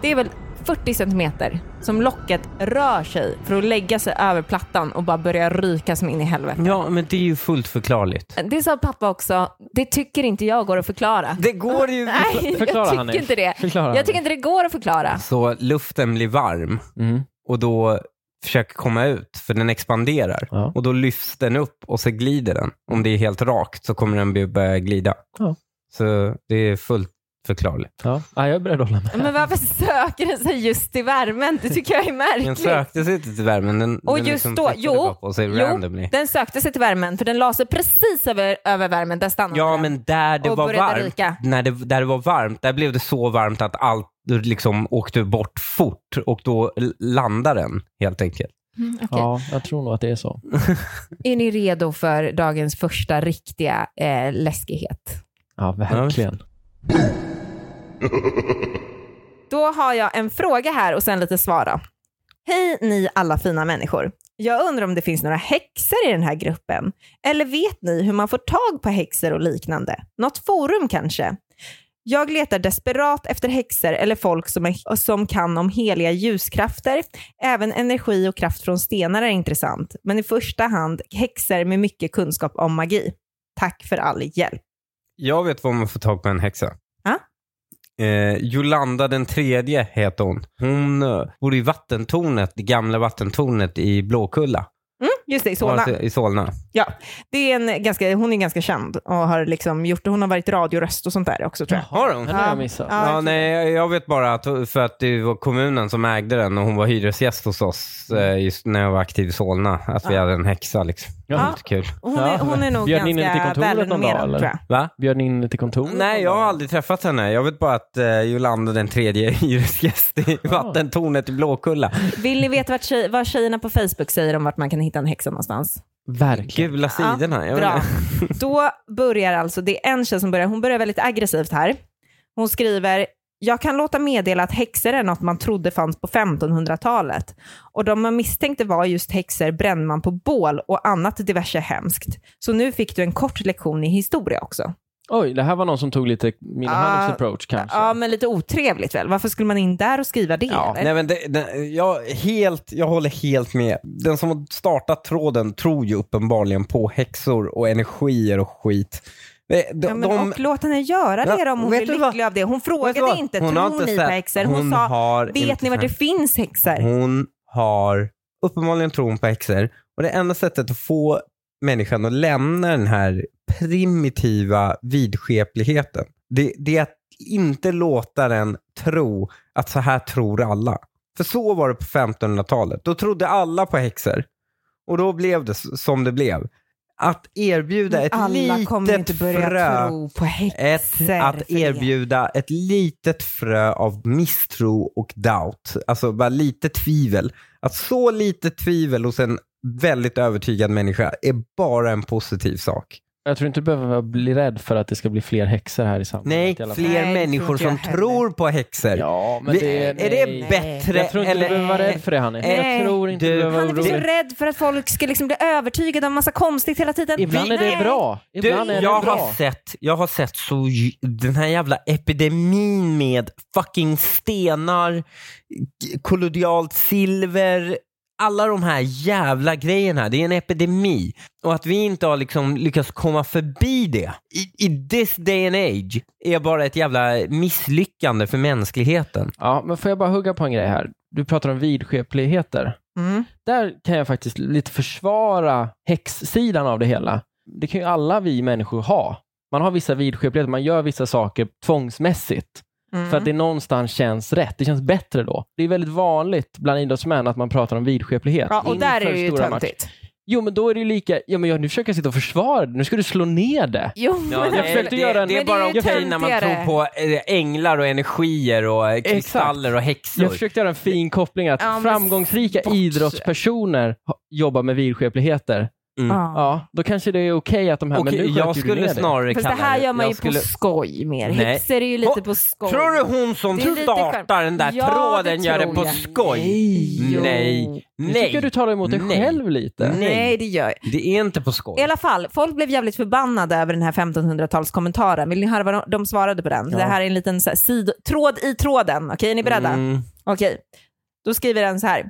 Speaker 1: det är väl 40 centimeter som locket rör sig för att lägga sig över plattan och bara börja ryka som in i helvete.
Speaker 2: Ja, men det är ju fullt förklarligt.
Speaker 1: Det sa pappa också. Det tycker inte jag går att förklara.
Speaker 2: Det går ju...
Speaker 1: Nej,
Speaker 3: Förklara,
Speaker 1: jag
Speaker 3: Hanif.
Speaker 1: tycker inte det.
Speaker 3: Förklara,
Speaker 1: Jag tycker inte det går att förklara.
Speaker 2: Så luften blir varm
Speaker 3: Mm.
Speaker 2: och då försöker komma ut, för den expanderar.
Speaker 3: Ja.
Speaker 2: Och då lyfts den upp och så glider den. Om det är helt rakt så kommer den bli- börja glida.
Speaker 3: Ja.
Speaker 2: Så det är fullt förklarligt.
Speaker 3: Ja. ja, jag är beredd att hålla med.
Speaker 1: Men varför söker den sig just i värmen? Det tycker jag är
Speaker 2: Den
Speaker 1: märkligt.
Speaker 2: sökte sig inte till värmen. Den,
Speaker 1: Och
Speaker 2: den liksom
Speaker 1: just då-
Speaker 2: flyttade
Speaker 1: jo,
Speaker 2: bara på sig
Speaker 1: jo.
Speaker 2: randomly.
Speaker 1: Den sökte sig till värmen för den la sig precis över, över värmen. Där stannade
Speaker 2: Ja,
Speaker 1: den.
Speaker 2: men där det
Speaker 1: Och
Speaker 2: var
Speaker 1: började
Speaker 2: varmt,
Speaker 1: ryka.
Speaker 2: när det, där det var varmt, där blev det så varmt att allt liksom åkte bort fort och då l- landade den helt enkelt.
Speaker 1: Mm, okej.
Speaker 3: Ja, jag tror nog att det är så.
Speaker 1: Är ni redo för dagens första riktiga eh, läskighet?
Speaker 3: Ja, verkligen.
Speaker 1: Då har jag en fråga här och sen lite svar då. Hej ni alla fina människor. Jag undrar om det finns några häxor i den här gruppen? Eller vet ni hur man får tag på häxor och liknande? Något forum kanske? Jag letar desperat efter häxor eller folk som, är, som kan om heliga ljuskrafter. Även energi och kraft från stenar är intressant, men i första hand häxor med mycket kunskap om magi. Tack för all hjälp.
Speaker 2: Jag vet var man får tag på en häxa.
Speaker 1: Ja.
Speaker 2: Eh, Jolanda den tredje heter hon. Hon eh, bor i vattentornet, det gamla vattentornet i Blåkulla.
Speaker 1: Just det, i Solna.
Speaker 2: Alltså, I Solna.
Speaker 1: Ja, det är en ganska, hon är ganska känd och har liksom gjort, hon har varit radioröst och sånt där också tror jag.
Speaker 2: Har hon?
Speaker 3: Den har jag missat.
Speaker 1: Ja.
Speaker 2: Ja, nej, jag vet bara att för att det var kommunen som ägde den och hon var hyresgäst hos oss eh,
Speaker 1: Mm.
Speaker 2: just när jag var aktiv i Solna. Att vi hade en häxa liksom.
Speaker 3: Ja.
Speaker 2: Ja. Kul.
Speaker 1: Hon är,
Speaker 3: Ja.
Speaker 1: hon är nog
Speaker 3: Bjöd ni in henne till
Speaker 1: ganska
Speaker 3: kontoret någon dag,
Speaker 1: välrenommerad
Speaker 3: eller?
Speaker 1: tror jag.
Speaker 2: Va?
Speaker 3: Bjöd ni in till kontoret?
Speaker 2: Nej, jag har aldrig träffat henne. Jag vet bara att eh, Jolanda den tredje är hyresgäst i vattentornet i Blåkulla.
Speaker 1: Vill ni veta vart tjej, vad tjejerna på Facebook säger om vart man kan hitta en häxa någonstans?
Speaker 3: Verkligen.
Speaker 2: Gula sidorna. jag vet
Speaker 1: Bra.
Speaker 2: inte.
Speaker 1: Då börjar alltså, det är en tjej som börjar, hon börjar väldigt aggressivt här. Hon skriver, jag kan låta meddela att häxor är något man trodde fanns på 1500-talet. Och de man misstänkte var just häxor brände man på bål och annat diverse hemskt. Så nu fick du en kort lektion i historia också.
Speaker 3: Oj, det här var någon som tog lite min
Speaker 1: Ah,
Speaker 3: hands approach kanske.
Speaker 1: Ja, men lite otrevligt väl? Varför skulle man in där och skriva det?
Speaker 2: Ja,
Speaker 1: eller?
Speaker 2: nej, men det, det, jag, helt, jag håller helt med. Den som har startat tråden tror ju uppenbarligen på häxor och energier och skit. De, de,
Speaker 1: Ja, men,
Speaker 2: de,
Speaker 1: och låt henne göra det
Speaker 2: Ja,
Speaker 1: då, om hon
Speaker 2: vet
Speaker 1: blir
Speaker 2: du vad?
Speaker 1: lycklig av det. Hon
Speaker 2: Vet du
Speaker 1: frågade
Speaker 2: vad?
Speaker 1: inte,
Speaker 2: Hon har
Speaker 1: tror
Speaker 2: inte
Speaker 1: ni på
Speaker 2: sett-
Speaker 1: häxor? Hon,
Speaker 2: hon har
Speaker 1: sa, vet
Speaker 2: inte
Speaker 1: ni vart det
Speaker 2: sett."
Speaker 1: finns häxor?
Speaker 2: hon har uppenbarligen tron på häxor. Och det enda sättet att få människan att lämna den här primitiva vidskepligheten, det, det är att inte låta den tro att så här tror alla. För så var det på 1500-talet. Då trodde alla på häxor. Och då blev det s- som det blev. Att erbjuda ett
Speaker 1: Alla kommer
Speaker 2: litet
Speaker 1: inte börja
Speaker 2: frö
Speaker 1: tro på häxor.
Speaker 2: ett, att
Speaker 1: för det.
Speaker 2: erbjuda ett litet frö av misstro och doubt. Alltså bara lite tvivel. Att så lite tvivel hos en väldigt övertygad människa är bara en positiv sak.
Speaker 3: Jag tror inte du behöver bli rädd för att det ska bli fler häxor här i samhället.
Speaker 2: Nej,
Speaker 3: i alla fall.
Speaker 1: Nej,
Speaker 2: fler
Speaker 1: det tror
Speaker 2: människor
Speaker 1: inte jag
Speaker 2: som
Speaker 1: heller.
Speaker 2: tror på häxor.
Speaker 3: Ja, men
Speaker 2: Vi-
Speaker 3: det,
Speaker 2: är det
Speaker 3: nej.
Speaker 2: bättre?
Speaker 3: Jag tror inte
Speaker 2: eller,
Speaker 3: du behöver vara rädd för det, Hanni.
Speaker 1: Nej.
Speaker 3: Jag tror inte
Speaker 2: Du-
Speaker 3: du, behöver
Speaker 1: Han är
Speaker 3: vara
Speaker 1: väl så
Speaker 3: orolig.
Speaker 1: rädd för att folk ska liksom bli övertygade om massa konstigt hela tiden.
Speaker 3: Ibland är det
Speaker 1: Nej.
Speaker 3: bra.
Speaker 2: Du,
Speaker 3: Ibland är det
Speaker 2: jag,
Speaker 3: bra.
Speaker 2: har sett, jag har sett så, j- den här jävla epidemin med fucking stenar, g- kollodialt silver, alla de här jävla grejerna. Det är en epidemi. Och att vi inte har liksom lyckats komma förbi det i, i this day and age är bara ett jävla misslyckande för mänskligheten.
Speaker 3: Ja, men får jag bara hugga på en grej här? Du pratar om vidskepligheter.
Speaker 1: Mm.
Speaker 3: Där kan jag faktiskt lite försvara häxsidan av det hela. Det kan ju alla vi människor ha. Man har vissa vidskepligheter, man gör vissa saker tvångsmässigt.
Speaker 1: Mm.
Speaker 3: För att det någonstans känns rätt. Det känns bättre då. Det är väldigt vanligt bland idrottsmän att man pratar om vidskeplighet.
Speaker 1: ja, och där
Speaker 3: inför
Speaker 1: är det ju
Speaker 3: stora matcher.
Speaker 1: töntigt.
Speaker 3: Jo, men då är det ju lika... Ja, men jag, nu försöker jag sitta och försvara det. Nu ska du slå ner det.
Speaker 1: Jo, men
Speaker 3: jag försökte göra en-
Speaker 2: det, det är
Speaker 1: Men det är
Speaker 2: bara
Speaker 1: ju
Speaker 2: okej när man
Speaker 1: töntigare.
Speaker 2: tror på eh, änglar och energier och eh, kristaller och
Speaker 3: Jag
Speaker 2: häxor.
Speaker 3: försökte göra en fin koppling att
Speaker 1: Ja, men
Speaker 3: framgångsrika
Speaker 1: bortse.
Speaker 3: idrottspersoner ha- jobbar med vidskepligheter.
Speaker 2: Mm.
Speaker 1: Ja.
Speaker 3: Ja, då kanske det är okej att de här...
Speaker 2: Och
Speaker 3: men nu sköt
Speaker 2: jag
Speaker 3: ju du
Speaker 2: skulle
Speaker 3: ner det.
Speaker 2: snarare
Speaker 1: Fast det
Speaker 2: kalla
Speaker 1: här gör man
Speaker 2: jag
Speaker 1: ju
Speaker 2: skulle-
Speaker 1: på skoj mer.
Speaker 2: Nej.
Speaker 1: Häxor är ju lite
Speaker 2: Ho-
Speaker 1: på skoj.
Speaker 2: Tror du hon som
Speaker 1: Det är lite
Speaker 2: startar den där
Speaker 1: Ja, det
Speaker 2: tråden gör det
Speaker 1: tror
Speaker 2: på
Speaker 1: jag.
Speaker 2: skoj? Mm.
Speaker 1: Jo.
Speaker 2: Nej.
Speaker 3: Nu tycker jag du
Speaker 2: Nej.
Speaker 3: talar emot dig
Speaker 2: Nej.
Speaker 3: själv lite.
Speaker 2: Nej.
Speaker 1: Nej, det gör jag
Speaker 2: Det är inte på
Speaker 1: I
Speaker 2: skoj.
Speaker 1: alla fall, folk blev jävligt förbannade över den här 1500-talskommentaren. Vill ni höra vad de- de svarade på den? Det här är en liten så här, sid- tråd i tråden. Okej, är ni beredda?
Speaker 2: Mm.
Speaker 1: Okej. Då skriver den så här.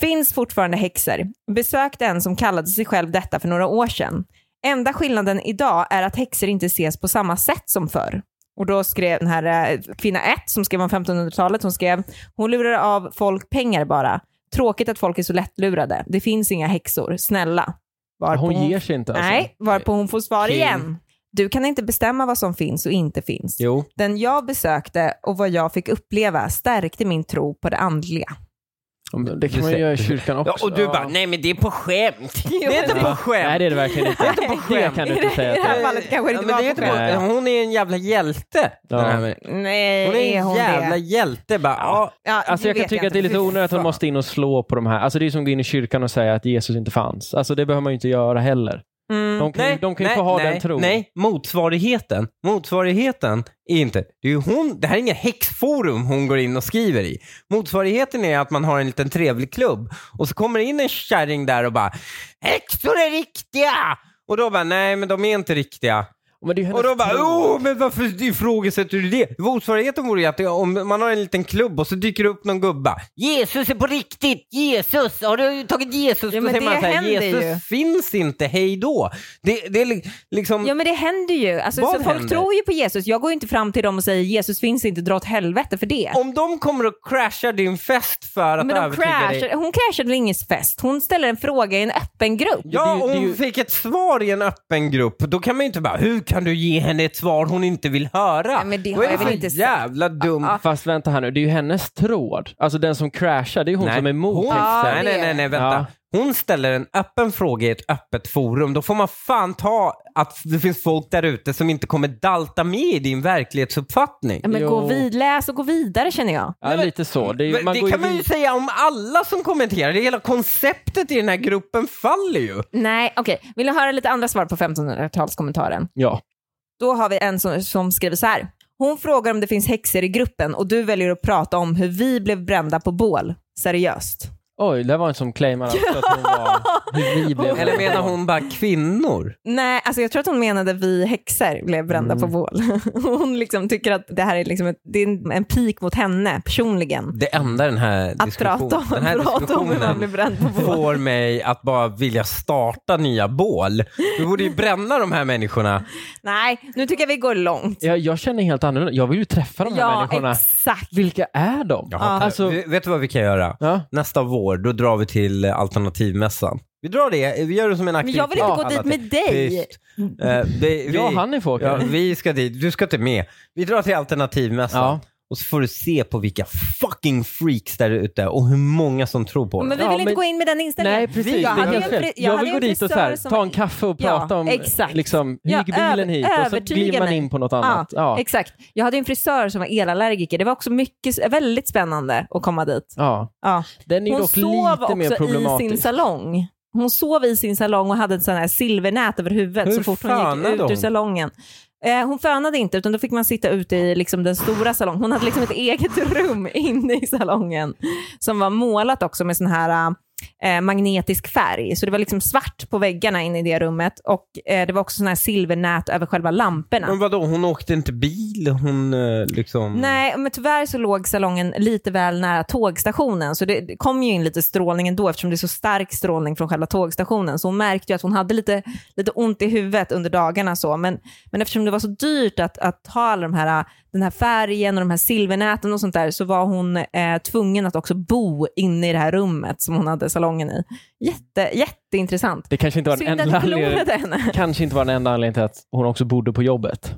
Speaker 1: Finns fortfarande häxor. Besökte en som kallade sig själv detta för några år sedan. Enda skillnaden idag är att häxor inte ses på samma sätt som förr. Och då skrev den här eh, kvinna 1 som skrev om 1500-talet, hon skrev hon lurar av folk pengar bara. Tråkigt att folk är så lättlurade. Det finns inga häxor, snälla. Varpå
Speaker 3: Hon ger sig inte alltså.
Speaker 1: Nej, varpå hon får svar
Speaker 2: King.
Speaker 1: igen. Du kan inte bestämma vad som finns och inte finns.
Speaker 2: Jo.
Speaker 1: Den jag besökte och vad jag fick uppleva stärkte min tro på det andliga.
Speaker 3: Ja, men
Speaker 2: Du
Speaker 3: Det kan man ju
Speaker 2: ser-
Speaker 3: göra i
Speaker 2: du ser-
Speaker 3: kyrkan också.
Speaker 2: Ja, och du bara,
Speaker 3: Ja.
Speaker 2: nej men det är på skämt. Det är inte
Speaker 1: men-
Speaker 2: på skämt.
Speaker 3: Nej, det är det verkligen inte. det kan du inte säga.
Speaker 1: I det
Speaker 3: att det
Speaker 1: här
Speaker 3: är.
Speaker 1: fallet kanske det
Speaker 2: Ja,
Speaker 1: inte
Speaker 2: men
Speaker 1: var
Speaker 2: det är
Speaker 1: på skämt.
Speaker 2: inte
Speaker 3: skämt.
Speaker 2: på- Hon är en jävla hjälte.
Speaker 3: Ja.
Speaker 2: Den här med-
Speaker 1: Nej,
Speaker 2: Hon är
Speaker 1: är
Speaker 2: en
Speaker 1: hon
Speaker 2: jävla
Speaker 1: det?
Speaker 2: hjälte. Bara, ja.
Speaker 1: Ja,
Speaker 3: Alltså jag
Speaker 1: vet
Speaker 3: kan tycka att
Speaker 1: inte.
Speaker 3: det är lite
Speaker 1: Fy
Speaker 3: onödigt att de
Speaker 1: fan.
Speaker 3: måste in och slå på de här. Alltså det är som att gå in i kyrkan och säga att Jesus inte fanns. Alltså det behöver man ju inte göra heller.
Speaker 1: Mm.
Speaker 3: De kan, ju- de kan ju få ha den tron.
Speaker 2: Nej, motsvarigheten. Motsvarigheten är inte, det, är ju hon, det här är inget häxforum hon går in och skriver i. Motsvarigheten är att man har en liten trevlig klubb och så kommer det in en kärring där och bara “Häxor är riktiga!” och då bara “Nej, men de är inte riktiga”.
Speaker 3: Men det är ju
Speaker 2: Och
Speaker 3: hennes
Speaker 2: då bara "Oh!"
Speaker 3: tro.
Speaker 2: “Åh, men varför ifrågasätter du det?” Motsvarigheten vore ju att det- om man har en liten klubb och så dyker det upp någon gubba. “Jesus är på riktigt! Jesus! Har du tagit Jesus?”
Speaker 1: Ja,
Speaker 2: Då
Speaker 1: men
Speaker 2: säger
Speaker 1: det
Speaker 2: man så här,
Speaker 1: händer
Speaker 2: “Jesus
Speaker 1: ju."
Speaker 2: finns inte, hej då!” Det, det är li- liksom...
Speaker 1: Ja men det händer ju. Alltså,
Speaker 2: Vad
Speaker 1: så folk
Speaker 2: händer?
Speaker 1: tror ju på Jesus. Jag går ju inte fram till dem och säger Jesus finns inte, dra åt helvete för det.
Speaker 2: Om de kommer och crashar din fest för att
Speaker 1: men de
Speaker 2: övertyga dig.
Speaker 1: crashar, hon crashade väl ingen fest? Hon ställer en fråga i en öppen grupp.
Speaker 2: Ja,
Speaker 3: Det är ju- det är
Speaker 2: hon
Speaker 3: ju-
Speaker 2: fick ett svar i en öppen grupp. Då kan man ju inte bara, hur kan du ge henne ett svar hon inte vill höra?
Speaker 1: Nej, men det
Speaker 2: Vad
Speaker 1: har
Speaker 2: är
Speaker 1: jag
Speaker 2: det
Speaker 1: väl
Speaker 2: för
Speaker 1: inte sagt.
Speaker 2: jävla dum...
Speaker 3: Fast vänta här nu, det är ju hennes tråd. Alltså den som crashar, det är ju hon som är emot
Speaker 2: hon,
Speaker 3: häxor.
Speaker 1: Ja,
Speaker 2: nej,
Speaker 1: det är
Speaker 2: nej, nej,
Speaker 1: det.
Speaker 2: nej, vänta. Hon ställer en öppen fråga i ett öppet forum. Då får man fan ta att det finns folk där ute som inte kommer dalta med i din verklighetsuppfattning.
Speaker 1: Ja, men
Speaker 3: Jo.
Speaker 1: gå vid, läs och gå vidare känner jag.
Speaker 3: Ja, lite så. Det, är, ju-
Speaker 2: Men
Speaker 3: man
Speaker 2: det
Speaker 3: går
Speaker 2: kan man ju
Speaker 3: vid-
Speaker 2: säga om alla som kommenterar. Det hela konceptet i den här gruppen faller ju.
Speaker 1: Nej, okej. Vill du höra lite andra svar på 1500-talskommentaren?
Speaker 3: Ja.
Speaker 1: Då har vi en som, som skriver så här. Hon frågar om det finns häxor i gruppen och du väljer att prata om hur vi blev brända på bål. Seriöst.
Speaker 3: Oj, det var en som claimar alltså att hon var... Hur vi blev
Speaker 2: Eller menar hon bara kvinnor?
Speaker 1: Nej, alltså jag tror att hon menade vi häxor blev brända
Speaker 3: Mm.
Speaker 1: på bål. Hon liksom tycker att det här är, liksom ett, det är en- en pik mot henne personligen.
Speaker 2: Det enda den här
Speaker 1: Att prata om,
Speaker 2: diskussionen, den här
Speaker 1: prata om hur man blir
Speaker 2: diskussionen
Speaker 1: bränd på bål.
Speaker 2: får mig att bara vilja starta nya bål. Vi borde ju bränna de här människorna.
Speaker 1: Nej, nu tycker jag vi går långt.
Speaker 3: Jag, jag känner helt annorlunda. Jag vill ju träffa de här
Speaker 1: Ja,
Speaker 3: människorna.
Speaker 1: exakt.
Speaker 3: Vilka är de? Alltså,
Speaker 2: Vi- Vet du vad vi kan göra?
Speaker 3: ja.
Speaker 2: Nästa vår, då drar vi till eh, alternativmässan. Vi drar det, eh, vi gör det som en
Speaker 1: Men
Speaker 2: aktivitet.
Speaker 1: jag vill inte gå dit med dig.
Speaker 2: Tyst. Eh, det-
Speaker 3: Jag och
Speaker 2: vi-
Speaker 3: Hanif åker.
Speaker 2: Ja, vi ska dit. Du ska inte med. Vi drar till alternativmässan.
Speaker 3: Ja.
Speaker 2: Och så får du se på vilka fucking freaks där ute och hur många som tror på det.
Speaker 1: Men vi vill
Speaker 3: Ja,
Speaker 1: inte
Speaker 3: men-
Speaker 1: gå in med den inställningen.
Speaker 3: Nej, precis.
Speaker 1: Jag
Speaker 3: det är
Speaker 1: hade ju
Speaker 3: helt
Speaker 1: en
Speaker 3: fel.
Speaker 1: fri- jag
Speaker 3: jag
Speaker 1: hade
Speaker 3: vill
Speaker 1: ju
Speaker 3: gå
Speaker 1: en
Speaker 3: dit och så
Speaker 1: frisör
Speaker 3: här,
Speaker 1: som-
Speaker 3: ta en kaffe och
Speaker 1: Ja,
Speaker 3: prata om
Speaker 1: exakt.
Speaker 3: liksom, hur
Speaker 1: Ja,
Speaker 3: gick bilen
Speaker 1: över-
Speaker 3: hit och så
Speaker 1: övertyga
Speaker 3: glider man
Speaker 1: mig.
Speaker 3: in på något
Speaker 1: Ja,
Speaker 3: annat. Ja, ja.
Speaker 1: Exakt. Jag hade ju en frisör som var elallergiker. Det var också mycket, väldigt spännande att komma dit. Ja.
Speaker 3: Den är ju
Speaker 1: Hon
Speaker 3: dock
Speaker 1: sov
Speaker 3: lite
Speaker 1: också
Speaker 3: mer
Speaker 1: i
Speaker 3: problematisk.
Speaker 1: sin salong. Hon sov i sin salong och hade ett sån här silvernät över huvudet
Speaker 2: Hur
Speaker 1: så fort hon gick
Speaker 2: fönade
Speaker 1: ut ur
Speaker 2: hon?
Speaker 1: salongen. Eh, hon fönade inte, utan då fick man sitta ute i liksom, den stora salongen. Hon hade liksom ett eget rum inne i salongen som var målat också med sån här eh, magnetisk färg. Så det var liksom svart på väggarna inne i det rummet och eh, det var också sån här silvernät över själva lamporna.
Speaker 2: Men vadå, hon åkte inte bil? Hon eh, liksom...
Speaker 1: Nej, men tyvärr så låg salongen lite väl nära tågstationen, så det det kom ju in lite strålning ändå eftersom det är så stark strålning från själva tågstationen. Så hon märkte ju att hon hade lite, lite ont i huvudet under dagarna. Så. Men, men eftersom det var så dyrt att, att ha alla de här, den här färgen och de här silvernäten och sånt där så var hon eh, tvungen att också bo inne i det här rummet som hon hade salongen i. Jätte, jätteintressant.
Speaker 3: Det kanske inte var den
Speaker 1: Synd
Speaker 3: enda
Speaker 1: att vi
Speaker 3: anledningen-
Speaker 1: förlorade henne.
Speaker 3: kanske inte var den enda anledningen till att hon också bodde på jobbet.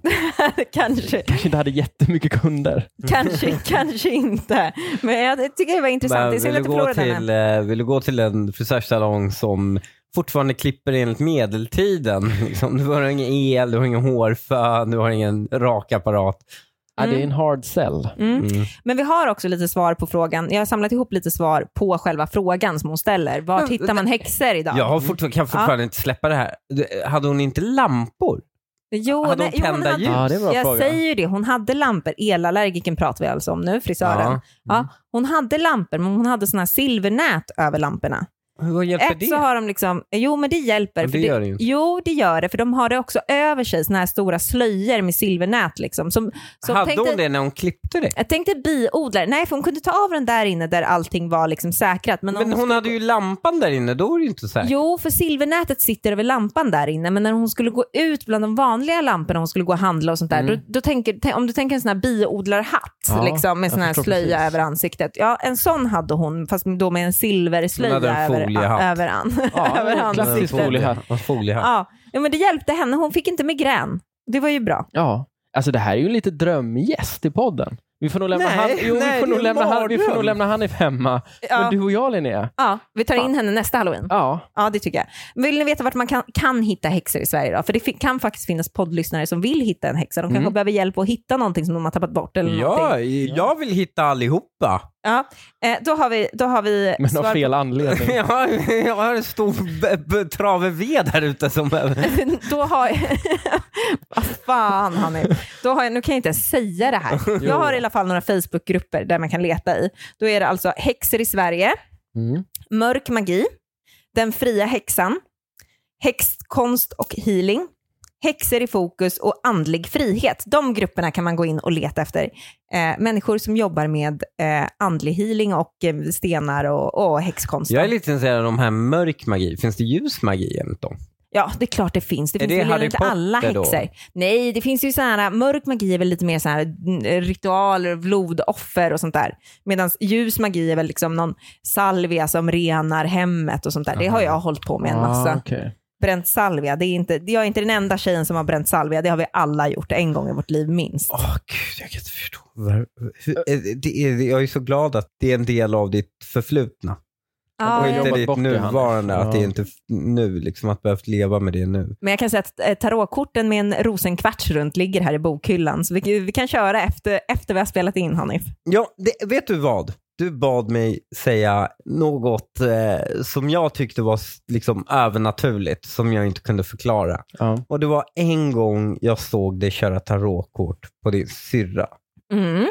Speaker 1: kanske,
Speaker 3: Kanske inte hade jättemycket kunder.
Speaker 1: kanske, kanske inte. Men jag tycker det var intressant. Det är
Speaker 2: vill,
Speaker 1: synd
Speaker 2: du
Speaker 1: att vi
Speaker 2: gå
Speaker 1: förlorade henne.
Speaker 2: till, eh, vill du gå till en frisörsalong som fortfarande klipper enligt medeltiden? Liksom, du har ingen el, du har ingen hårfön, du har ingen rakapparat.
Speaker 3: Ja, det är
Speaker 1: Mm.
Speaker 3: en hard sell.
Speaker 1: Mm.
Speaker 2: Mm.
Speaker 1: Men vi har också lite svar på frågan. Jag har samlat ihop lite svar på själva frågan som hon ställer. Var
Speaker 2: Men-
Speaker 1: hittar man häxor idag?
Speaker 2: Jag har fortfar- kan fortfarande inte släppa det här. Du- Hade hon inte lampor?
Speaker 1: jo,
Speaker 2: hade
Speaker 1: nej,
Speaker 2: hon
Speaker 1: jo,
Speaker 2: tända
Speaker 1: hade,
Speaker 2: ljus?
Speaker 3: Ja, det är en bra
Speaker 1: Jag
Speaker 3: fråga.
Speaker 1: säger ju det, hon hade lampor. Elallergiken pratar vi alltså om nu, frisören.
Speaker 2: Ja.
Speaker 1: Ja. hon hade lampor, men hon hade såna här silvernät över lamporna.
Speaker 2: Vad hjälper
Speaker 1: Ett
Speaker 2: det?
Speaker 1: så har de liksom, jo men det hjälper.
Speaker 2: Men
Speaker 1: för
Speaker 2: det gör det ju inte.
Speaker 1: Jo, det gör det, för de har det också över sig, såna här stora slöjor med silvernät. Liksom, som, som
Speaker 2: Hade
Speaker 1: tänk dig-
Speaker 2: hon det när hon klippte det?
Speaker 1: Jag tänkte biodlare, nej för hon kunde ta av den där inne där allting var liksom säkrat. Men, om
Speaker 2: Men
Speaker 1: hon
Speaker 2: hon hade ju lampan där inne, då var det ju inte så här.
Speaker 1: Jo, för silvernätet sitter över lampan där inne, men när hon skulle gå ut bland de vanliga lamporna, hon skulle gå och handla och sånt där, då, då tänker, tänk- om du tänker en sån här biodlarhatt
Speaker 3: Mm. Ja,
Speaker 1: liksom, med
Speaker 3: jag
Speaker 1: sån här
Speaker 3: förstår
Speaker 1: slöja
Speaker 3: precis.
Speaker 1: över ansiktet. Ja, en sån hade hon, fast då med en silverslöja
Speaker 2: Hon hade en
Speaker 1: över,
Speaker 2: foliehatt.
Speaker 1: över, an,
Speaker 3: Ja,
Speaker 1: över
Speaker 3: en
Speaker 2: Men
Speaker 3: klassisk
Speaker 1: ansiktet.
Speaker 2: folie-
Speaker 3: foliehatt.
Speaker 2: en foliehatt.
Speaker 1: Ja, ja, men det hjälpte henne. Hon fick inte migrän. Det var ju bra.
Speaker 3: Ja, alltså det här är ju en lite drömgäst i podden. Vi får nog lämna,
Speaker 2: Nej,
Speaker 3: han, jo,
Speaker 2: nej,
Speaker 3: vi får
Speaker 2: det är
Speaker 3: nog
Speaker 2: en
Speaker 3: lämna, han, vi får nog
Speaker 2: mardröm.
Speaker 3: lämna Hanif hemma.
Speaker 1: Ja.
Speaker 3: Men du och jag Linnea,
Speaker 1: Ja, vi tar in henne nästa halloween.
Speaker 3: ja,
Speaker 1: Ja, det tycker jag. Men Vill ni veta vart man kan, kan hitta häxor i Sverige då? För det fi- kan faktiskt finnas poddlyssnare som vill hitta en häxa. De kanske behöver hjälp att hitta någonting som de har tappat bort eller
Speaker 2: Ja,
Speaker 1: någonting.
Speaker 2: jag vill hitta allihopa.
Speaker 1: Ja. Eh, då har vi, då har vi
Speaker 3: men av
Speaker 1: svar
Speaker 3: fel anledning.
Speaker 2: Jag har, jag har en stor b- b- trave ved här ute som...
Speaker 1: På, då har Vad fan han är. Då har jag, nu kan jag inte ens säga det här. Jag har i alla fall några Facebookgrupper där man kan leta i. Då är det alltså häxor i Sverige,
Speaker 3: Mm.
Speaker 1: mörk magi, den fria häxan, häxkonst och healing, häxor i fokus och andlig frihet. De grupperna kan man gå in och leta efter. Eh, människor som jobbar med eh, andlig healing och eh, stenar och, och häxkonst.
Speaker 2: Jag är lite intresserad av de här mörk magi. Finns det ljus magi enligt dem?
Speaker 1: Ja, det är klart det finns. Det
Speaker 2: Är
Speaker 1: finns
Speaker 2: det
Speaker 1: väl
Speaker 2: Harry
Speaker 1: inte
Speaker 2: Potter
Speaker 1: alla
Speaker 2: då?
Speaker 1: häxor. Nej, det finns ju så här, eh, mörk magi är väl lite mer så här mm, ritualer, blodoffer och sånt där. Medan ljus magi är väl liksom någon salvia som renar hemmet och sånt där. Det har jag hållit på med en massa.
Speaker 3: Ah, okej.
Speaker 1: bränt salvia. Det är inte, jag är inte den enda tjejen som har bränt salvia. Det har vi alla gjort en gång i vårt liv minst.
Speaker 2: Åh gud, jag kan inte förstå. Var- hur- eh, det är- Jag är så glad att det är en del av ditt förflutna.
Speaker 3: har
Speaker 2: och
Speaker 3: ja.
Speaker 2: inte
Speaker 3: jobbat
Speaker 2: ditt
Speaker 3: bort det, Hanif.
Speaker 2: nuvarande. Att det
Speaker 3: Ja.
Speaker 2: är inte f- nu, liksom att behövt leva med det nu.
Speaker 1: Men jag kan säga att eh, tarotkorten med en rosenkvarts runt ligger här i bokhyllan. Så vi, vi kan köra efter, efter vi har spelat in Hanif.
Speaker 2: Ja, det, vet du vad? Du bad mig säga något eh, som jag tyckte var s- liksom övernaturligt, som jag inte kunde förklara.
Speaker 3: Ja.
Speaker 2: Och det var en gång jag såg dig köra tarotkort på din syrra.
Speaker 1: Mm.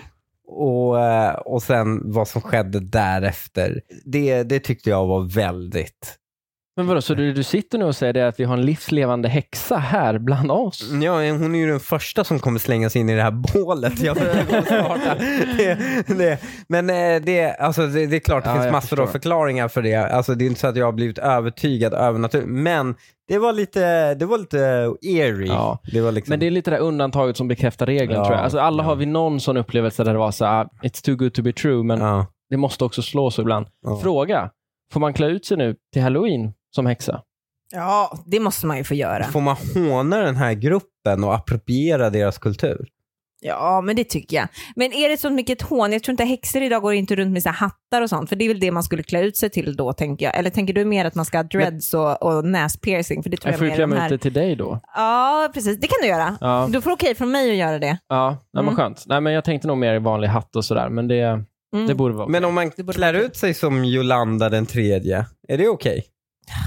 Speaker 2: Och, eh, och sen vad som skedde därefter. Det, det tyckte jag var väldigt...
Speaker 3: Men vadå, så du, du sitter nu och säger det att vi har en livslevande häxa här bland oss?
Speaker 2: Ja, hon är ju den första som kommer slängas in i det här bålet. Jag jag kommer starta. det, det. Men eh, det, alltså, det, det är klart, det
Speaker 3: Ja,
Speaker 2: finns
Speaker 3: jag
Speaker 2: massor av
Speaker 3: förstår.
Speaker 2: förklaringar för det. Alltså, det är inte så att jag har blivit övertygad övernaturligt. Men det var lite, det var lite eerie.
Speaker 3: Ja.
Speaker 2: Det var liksom...
Speaker 3: Men det är lite det där undantaget som bekräftar regeln
Speaker 2: Ja,
Speaker 3: tror jag. Alltså, alla
Speaker 2: ja.
Speaker 3: har vi någon sån upplevelse där det var så här, "Ah, it's too good to be true, men
Speaker 2: ja.
Speaker 3: det måste också slås ibland.
Speaker 2: Ja.
Speaker 3: Fråga, får man klä ut sig nu till halloween som häxa?
Speaker 1: Ja, det måste man ju få göra.
Speaker 2: Får man håna den här gruppen och appropriera deras kultur?
Speaker 1: Ja, men det tycker jag. Men är det så mycket ett hån? Jag tror inte häxor idag går inte runt med så här hattar och sånt, för det är väl det man skulle klä ut sig till då, tänker jag. Eller tänker du mer att man ska ha dreads och, och näspiercing? För det tror
Speaker 3: Jag
Speaker 1: jag,
Speaker 3: får ju
Speaker 1: mer
Speaker 3: klä
Speaker 1: är de
Speaker 3: mig
Speaker 1: här...
Speaker 3: ut det till dig då.
Speaker 1: Ja, precis. Det kan du göra.
Speaker 3: Ja,
Speaker 1: Du får okej från mig att göra det.
Speaker 3: ja. Nej, men
Speaker 1: Mm.
Speaker 3: skönt. Nej, men jag tänkte nog mer i vanlig hatt och sådär, men det,
Speaker 1: Mm.
Speaker 3: det borde vara
Speaker 2: Men om man
Speaker 1: borde
Speaker 2: klär
Speaker 1: vara-
Speaker 2: ut sig som Jolanda den tredje, är det okej?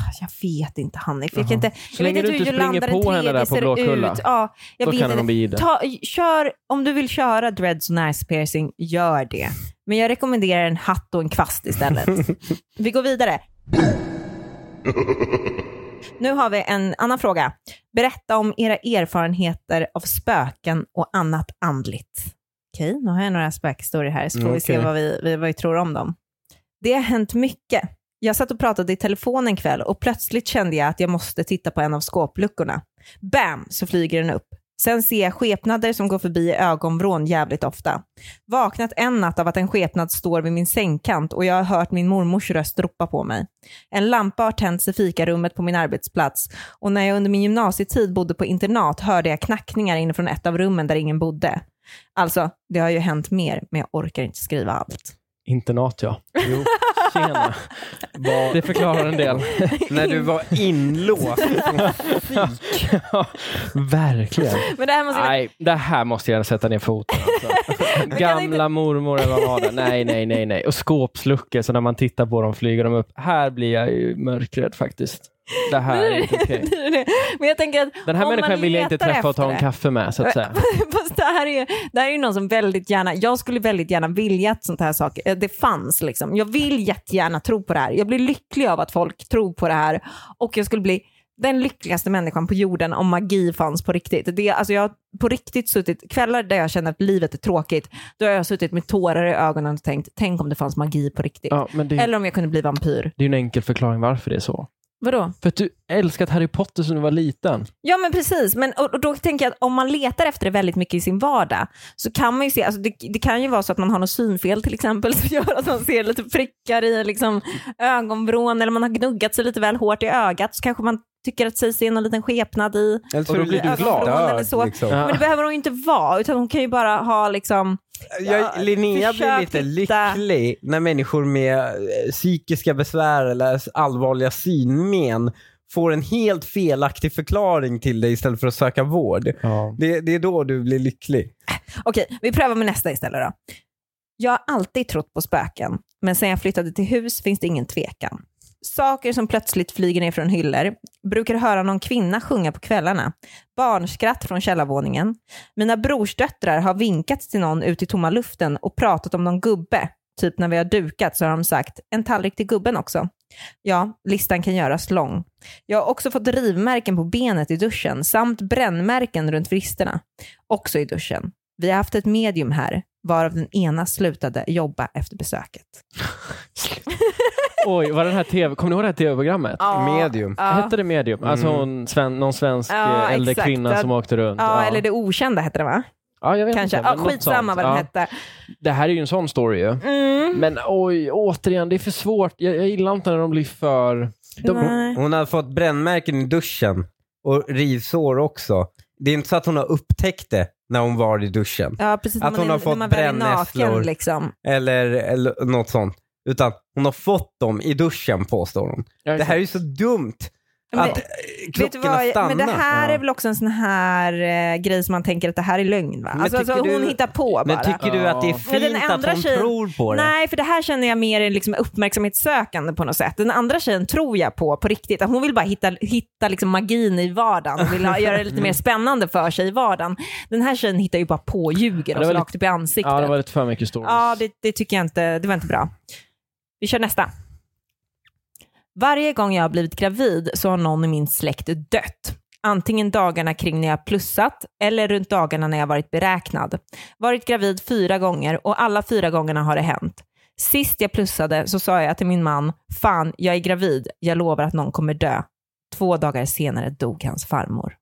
Speaker 1: Alltså, Jag vet inte Hanif. Jag
Speaker 3: Jaha.
Speaker 1: kan inte,
Speaker 3: Så
Speaker 1: jag
Speaker 3: länge
Speaker 1: vet
Speaker 3: du
Speaker 1: inte hur
Speaker 3: inte
Speaker 1: Jolanda
Speaker 3: springer på
Speaker 1: den
Speaker 3: henne där
Speaker 1: tredje
Speaker 3: på
Speaker 1: ser
Speaker 3: Blåkulla.
Speaker 1: ut. Ja, jag
Speaker 3: Då
Speaker 1: vet
Speaker 3: kan
Speaker 1: inte.
Speaker 3: hon bli i det.
Speaker 1: Ta, kör, om du vill köra dreads och näspiercing, gör det. Men jag rekommenderar en hatt och en kvast istället. vi går vidare. Nu har vi en annan fråga. Berätta om era erfarenheter av spöken och annat andligt. Okej, nu har jag några spökhistorier här, så får
Speaker 2: Mm,
Speaker 1: vi se
Speaker 2: okej.
Speaker 1: vad vi, vi- vad vi tror om dem. Det har hänt mycket. Jag satt och pratade i telefon en kväll och plötsligt kände jag att jag måste titta på en av skåpluckorna. Bam, så flyger den upp. Sen ser jag skepnader som går förbi i ögonvrån jävligt ofta. Vaknat en natt av att en skepnad står vid min sängkant och jag har hört min mormors röst ropa på mig. En lampa har tänts i fikarummet på min arbetsplats och när jag under min gymnasietid bodde på internat hörde jag knackningar inifrån ett av rummen där ingen bodde. Alltså, det har ju hänt mer, men jag orkar inte skriva allt.
Speaker 3: internat ja. Jo, tjena. Det förklarar en del.
Speaker 2: När du var inlåst.
Speaker 3: Ja, Verkligen.
Speaker 1: Men det här måste Alltså, jag...
Speaker 3: Nej, det här måste jag sätta ner foten. Alltså. Gamla mormor eller vad var det? Nej, nej, nej, nej. Och skåpsluckor, så när man tittar på dem flyger de upp. Här blir jag ju mörkrädd faktiskt. Det här är inte okej.
Speaker 1: Men jag tänker att
Speaker 3: Den här
Speaker 1: om man
Speaker 3: människan vill jag inte
Speaker 1: letar
Speaker 3: träffa och ta
Speaker 1: efter
Speaker 3: en
Speaker 1: det-
Speaker 3: kaffe med, så att säga.
Speaker 1: Fast det här, är, det här är ju någon som väldigt gärna, jag skulle väldigt gärna vilja att sånt här saker, eh, det fanns liksom. Jag vill jättegärna tro på det här. Jag blir lycklig av att folk tror på det här och jag skulle bli den lyckligaste människan på jorden om magi fanns på riktigt. Det, alltså jag har på riktigt suttit, kvällar där jag känner att livet är tråkigt, då har jag suttit med tårar i ögonen och tänkt, tänk om det fanns magi på riktigt.
Speaker 3: Ja, men det,
Speaker 1: Eller om jag kunde bli vampyr.
Speaker 3: det är ju en enkel förklaring varför det är så.
Speaker 1: Vadå?
Speaker 3: För att du älskat Harry Potter sedan du var liten.
Speaker 1: Ja men precis, men, och, och då tänker jag att om man letar efter det väldigt mycket i sin vardag så kan man ju se, alltså det, det kan ju vara så att man har något synfel till exempel som gör att man ser lite prickar i liksom, ögonvrån eller man har gnuggat sig lite väl hårt i ögat så kanske man tycker att sig se någon liten skepnad i.
Speaker 2: Eller
Speaker 3: Och
Speaker 2: tror
Speaker 3: då
Speaker 2: du
Speaker 3: blir
Speaker 2: blir
Speaker 1: du glad.
Speaker 2: död,
Speaker 1: Eller så.
Speaker 2: Liksom.
Speaker 3: Ja.
Speaker 1: Men det behöver hon ju inte vara utan hon kan ju bara ha liksom,
Speaker 2: Jag,
Speaker 1: Ja,
Speaker 2: Linnea blir
Speaker 1: försök
Speaker 2: lite
Speaker 1: hitta-
Speaker 2: lycklig när människor med eh, psykiska besvär eller allvarliga synmen får en helt felaktig förklaring till dig istället för att söka vård.
Speaker 3: Ja.
Speaker 2: Det, det är då du blir lycklig.
Speaker 1: Okej, vi prövar med nästa istället då. Jag har alltid trott på spöken, men sen jag flyttade till hus finns det ingen tvekan. Saker som plötsligt flyger ner från hyllor, brukar höra någon kvinna sjunga på kvällarna, barnskratt från källarvåningen. Mina brorsdöttrar har vinkat till någon ut i tomma luften och pratat om någon gubbe. Typ när vi har dukat så har de sagt en tallrik till gubben också. Ja, listan kan göras lång. Jag har också fått rivmärken på benet i duschen samt brännmärken runt vristerna. Också i duschen. Vi har haft ett medium här, varav den ena slutade jobba efter besöket.
Speaker 3: Oj, var den här TV, kommer ni ihåg det här tv-programmet?
Speaker 2: Medium.
Speaker 1: Ja,
Speaker 3: Hette det medium? Alltså
Speaker 2: Mm.
Speaker 3: hon, sven, någon svensk
Speaker 1: Ja,
Speaker 3: eh, äldre
Speaker 1: exakt.
Speaker 3: kvinna
Speaker 1: Ja.
Speaker 3: som åkte runt.
Speaker 1: ja, eller det okända hette det va?
Speaker 3: ja, jag vet
Speaker 1: Kanske.
Speaker 3: Inte,
Speaker 1: Ja,
Speaker 3: men något
Speaker 1: skitsamma
Speaker 3: sånt.
Speaker 1: vad den
Speaker 3: Ja.
Speaker 1: hette.
Speaker 3: Det här är ju en sån story ju.
Speaker 1: Mm.
Speaker 3: Men oj, återigen, det är för svårt. Jag, jag gillar inte när de blir för... De,
Speaker 1: Nej.
Speaker 2: Hon har fått brännmärken i duschen och rivsår också. Det är inte så att hon har upptäckt det när hon var i duschen.
Speaker 1: Ja, precis.
Speaker 2: Att
Speaker 1: när man
Speaker 2: hon
Speaker 1: är-
Speaker 2: har fått
Speaker 1: när man väl är
Speaker 2: brännässlor.
Speaker 1: naken, liksom.
Speaker 2: Eller, eller något sånt. Utan hon har fått dem i duschen påstår hon. Det här är ju så dumt.
Speaker 1: Men-
Speaker 2: Att eh,
Speaker 1: Vet du
Speaker 2: klockorna
Speaker 1: vad,
Speaker 2: stannar.
Speaker 1: men det här
Speaker 3: Ja.
Speaker 1: är väl också en sån här eh, grej som man tänker att det här är lögn va?
Speaker 2: Men
Speaker 1: Alltså, alltså
Speaker 2: tycker
Speaker 1: hon
Speaker 2: du-
Speaker 1: hittar på bara.
Speaker 2: Men tycker du att det är
Speaker 3: Ja.
Speaker 1: Men den
Speaker 2: fint att
Speaker 1: andra
Speaker 2: hon
Speaker 1: tjejen-
Speaker 2: tror på det?
Speaker 1: Nej, för det här känner jag mer är liksom uppmärksamhetssökande på något sätt. Den andra tjejen tror jag på, på riktigt. Att Hon vill bara hitta, hitta liksom magin i vardagen och vill ha, göra det lite mer spännande för sig i vardagen. Den här tjejen hittar ju bara på ljuger
Speaker 3: Ja, det
Speaker 1: och
Speaker 3: var
Speaker 1: rakt upp i ansiktet.
Speaker 3: Ja, det var lite för mycket stories.
Speaker 1: Ja, det, det tycker jag inte. Det var inte bra. Vi kör nästa. Varje gång jag har blivit gravid så har någon i min släkt dött. Antingen dagarna kring när jag plussat eller runt dagarna när jag varit beräknad. Varit gravid fyra gånger och alla fyra gångerna har det hänt. Sist jag plussade så sa jag till min man, fan jag är gravid, jag lovar att någon kommer dö. Två dagar senare dog hans farmor.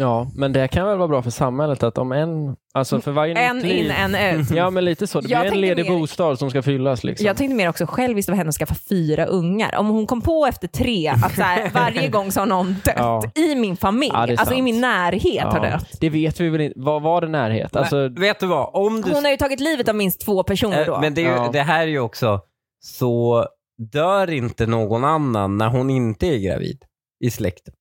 Speaker 3: Ja, men det kan väl vara bra för samhället att om en... Alltså för varje
Speaker 1: En
Speaker 3: nytt liv,
Speaker 1: in, en ut.
Speaker 3: Ja, men lite så. Det
Speaker 1: Jag
Speaker 3: blir en
Speaker 1: tänkte
Speaker 3: ledig
Speaker 1: mer-
Speaker 3: bostad som ska fyllas. Liksom.
Speaker 1: Jag tänkte mer också själv, visst det var henne att skaffa fyra ungar. Om hon kom på efter tre att så här, varje gång så har någon dött
Speaker 3: Ja.
Speaker 1: i min familj,
Speaker 3: Ja, det är
Speaker 1: alltså i
Speaker 3: sant.
Speaker 1: min närhet har
Speaker 3: ja,
Speaker 1: dött.
Speaker 3: det vet vi väl inte. Vad var det närhet? Alltså,
Speaker 2: Men, vet du vad? Om du...
Speaker 1: Hon har ju tagit livet av minst två personer då.
Speaker 2: Eh, Men det, är ju,
Speaker 3: Ja.
Speaker 2: det här är ju också, så dör inte någon annan när hon inte är gravid i släkten.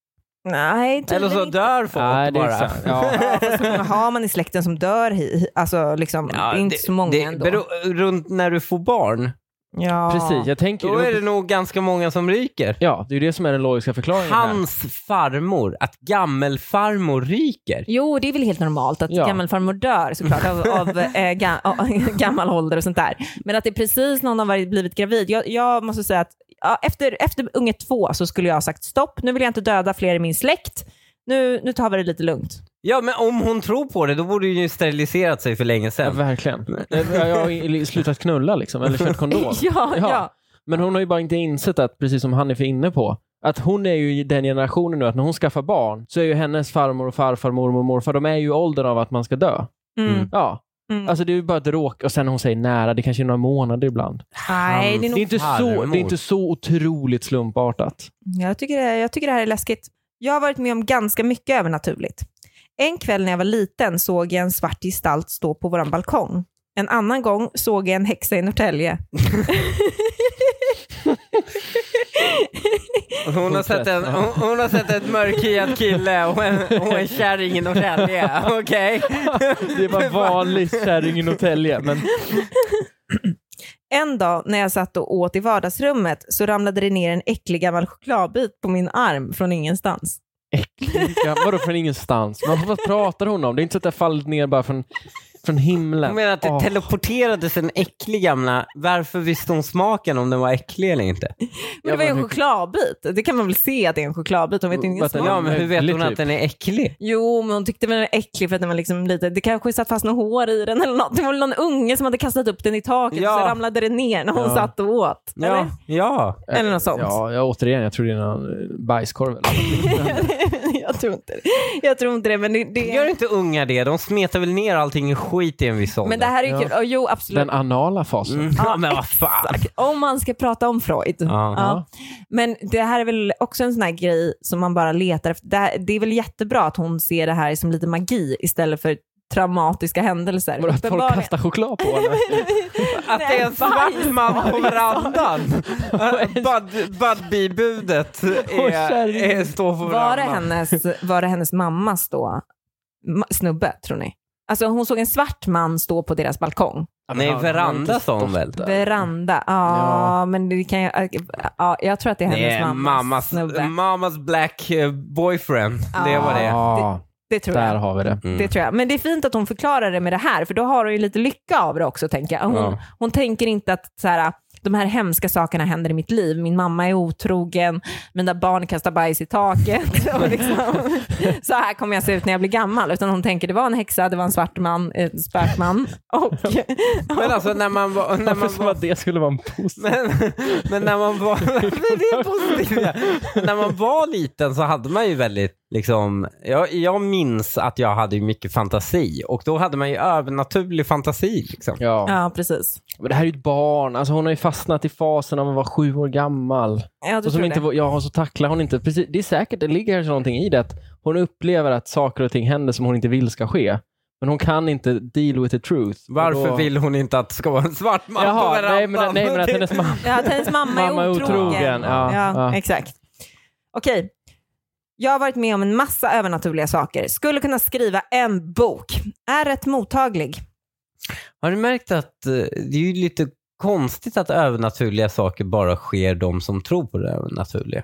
Speaker 1: Nej, tydligen
Speaker 2: Eller så
Speaker 1: inte.
Speaker 2: dör folk
Speaker 3: nej, det är
Speaker 2: bara.
Speaker 3: sant. Ja.
Speaker 1: Ja, fast hur många har man i släkten som dör, hi, hi- alltså liksom,
Speaker 2: Ja,
Speaker 1: det är inte
Speaker 2: det-
Speaker 1: så många
Speaker 2: det,
Speaker 1: ändå.
Speaker 2: beror- runt när du får barn,
Speaker 1: ja.
Speaker 3: Precis, jag tänker...
Speaker 2: då är det nog ganska många som ryker.
Speaker 3: Ja, det är ju det som är den logiska förklaringen. här.
Speaker 2: Hans farmor, att gammelfarmor ryker.
Speaker 1: Jo, det är väl helt normalt att
Speaker 3: Ja.
Speaker 1: gammelfarmor dör såklart av, av eh, ga, av gammal ålder och sånt där. Men att det är precis någon har varit, blivit gravid. Jag, jag måste säga att ja, efter, efter unge två så skulle jag ha sagt stopp, nu vill jag inte döda fler i min släkt. Nu, nu tar vi det lite lugnt.
Speaker 2: Ja, men om hon tror på det, då borde hon ju steriliserat sig för länge
Speaker 3: Ja,
Speaker 2: sedan.
Speaker 3: verkligen. Jag jag har i- slutat knulla liksom, eller kört kondom.
Speaker 1: Ja, ja.
Speaker 3: Men hon har ju bara inte insett att, precis som Hanif är inne på, att hon är ju i den generationen nu att när hon skaffar barn så är ju hennes farmor och farfar, mormor och morfar, de är ju i åldern av att man ska dö.
Speaker 1: Mm.
Speaker 2: Mm.
Speaker 3: Ja.
Speaker 1: Mm.
Speaker 3: Alltså det är ju bara ett råk och sen när hon säger nära, det kanske är några månader ibland.
Speaker 1: Nej, det är
Speaker 3: Det är
Speaker 1: nog,
Speaker 3: inte så,
Speaker 2: Farmor.
Speaker 3: det är inte så otroligt slumpartat.
Speaker 1: jag, tycker det, jag tycker det här är läskigt. Jag har varit med om ganska mycket övernaturligt. En kväll när jag var liten såg jag en svart gestalt stå på vår balkong. En annan gång såg jag en häxa i Norrtälje.
Speaker 2: Hon har, sett en, hon, hon har sett ett mörkhyad kille och en, och en kärring i Norrtälje. Okej?
Speaker 3: Det var vanligt kärring i Norrtälje, men
Speaker 1: En dag när jag satt och åt i vardagsrummet så ramlade det ner en äcklig gammal chokladbit på min arm från ingenstans.
Speaker 3: Ja, vadå från ingenstans? Men vad pratar hon om? Det är inte så att det har fallit ner bara från, från himlen.
Speaker 2: Hon menar att det
Speaker 3: Åh.
Speaker 2: teleporterades en äcklig gamla. Varför visste hon smaken om den var äcklig eller inte?
Speaker 1: Men det var ju en
Speaker 3: men hur-
Speaker 1: chokladbit. Det kan man väl se att det är en chokladbit. Hon vet ju ingen
Speaker 3: Vänta,
Speaker 1: smak.
Speaker 2: Ja, men hur vet
Speaker 3: Äcklig
Speaker 2: hon att
Speaker 3: typ.
Speaker 2: den är äcklig?
Speaker 1: Jo, men hon tyckte den var äcklig för att den var liksom lite, det kanske satt fast något hår i den eller något. Det var väl någon unge som hade kastat upp den i taket
Speaker 2: Ja.
Speaker 1: och så ramlade det ner när hon
Speaker 3: Ja.
Speaker 1: satt och åt.
Speaker 2: Ja, Eh,
Speaker 1: Eller?
Speaker 2: ja.
Speaker 1: eller något sånt.
Speaker 3: Ja, jag, återigen, jag tror det är någon eh, bajskorv. eller något.
Speaker 1: jag, tror inte det. jag tror inte det, men det,
Speaker 2: Gör
Speaker 1: det
Speaker 2: inte unga det? De smetar väl ner allting i skit i en viss ålder?
Speaker 1: men det här är ju
Speaker 3: Ja.
Speaker 1: kul. Ja, jo, absolut.
Speaker 3: Den anala fasen.
Speaker 2: Mm, Ja, men vad fan.
Speaker 1: Om man ska prata om Freud.
Speaker 2: Ja.
Speaker 1: Ja. Men det här är väl också en sån här grej som man bara letar efter. Det, här, det är väl jättebra att hon ser det här som lite magi istället för traumatiska händelser.
Speaker 3: Vadå, att folk
Speaker 1: Uppenbarligen-
Speaker 3: kastar choklad på henne?
Speaker 2: Att det är en svart man på verandan. Bud- Budbee-budet
Speaker 3: Och
Speaker 2: är,
Speaker 3: kärring.
Speaker 2: är, står på
Speaker 1: Var det,
Speaker 2: verandan.
Speaker 1: hennes, var det hennes mammas då ma- snubbe, tror ni? Alltså hon såg en svart man stå på deras balkong.
Speaker 2: Nej, veranda sa hon väl?
Speaker 1: Veranda. Ja,
Speaker 3: Ja.
Speaker 1: men det kan jag... Ja, jag tror att det är hennes
Speaker 2: Nej,
Speaker 1: mammas,
Speaker 2: mammas,
Speaker 1: snubbe.
Speaker 2: mammas black eh, boyfriend. Det var det.
Speaker 3: Ja,
Speaker 1: Det tror
Speaker 3: Ah, där
Speaker 1: jag.
Speaker 3: har vi det.
Speaker 2: Mm.
Speaker 1: Det tror jag. Men det är fint att hon förklarar det med det här, för då har hon ju lite lycka av det också, tänker jag. Hon,
Speaker 2: Ja.
Speaker 1: hon tänker inte att så här, de här hemska sakerna händer i mitt liv. Min mamma är otrogen, mina barn kastar bajs i taket. Och liksom, så här kommer jag se ut när jag blir gammal. Utan hon tänker, det var en häxa, det var en svart man, en spökman. Och,
Speaker 2: Men alltså när man var... När
Speaker 3: Varför
Speaker 2: man
Speaker 3: som
Speaker 2: var
Speaker 3: att det skulle vara en positiv...
Speaker 2: men, men när man var... Men det är positivt. ja. Men När man var liten så hade man ju väldigt, liksom... Jag, jag minns att jag hade ju mycket fantasi och då hade man ju övernaturlig fantasi liksom.
Speaker 3: Ja.
Speaker 1: ja, precis.
Speaker 3: Men det här är ju ett barn. Alltså hon har ju fastnat i fasen av att vara sju år gammal.
Speaker 1: Ja, du
Speaker 3: Och som
Speaker 1: tror
Speaker 3: inte,
Speaker 1: det.
Speaker 3: vå- ja, och så tacklar hon inte. Precis, det är säkert, det ligger kanske någonting i det att hon upplever att saker och ting händer som hon inte vill ska ske. Men hon kan inte deal with the truth. Och
Speaker 2: Varför
Speaker 3: då...
Speaker 2: vill hon inte att det ska vara en svart man på
Speaker 3: Jaha,
Speaker 2: verandan?
Speaker 3: nej men, nej men att hennes mamma...
Speaker 1: Ja, att hennes mamma,
Speaker 3: Mamma
Speaker 1: är otrogen.
Speaker 3: otrogen, ja,
Speaker 1: ja,
Speaker 3: ja.
Speaker 1: exakt. Okej, Jag har varit med om en massa övernaturliga saker. Skulle kunna skriva en bok. Är rätt mottaglig.
Speaker 2: Har du märkt att eh, det är ju lite konstigt att övernaturliga saker bara sker de som tror på det övernaturliga?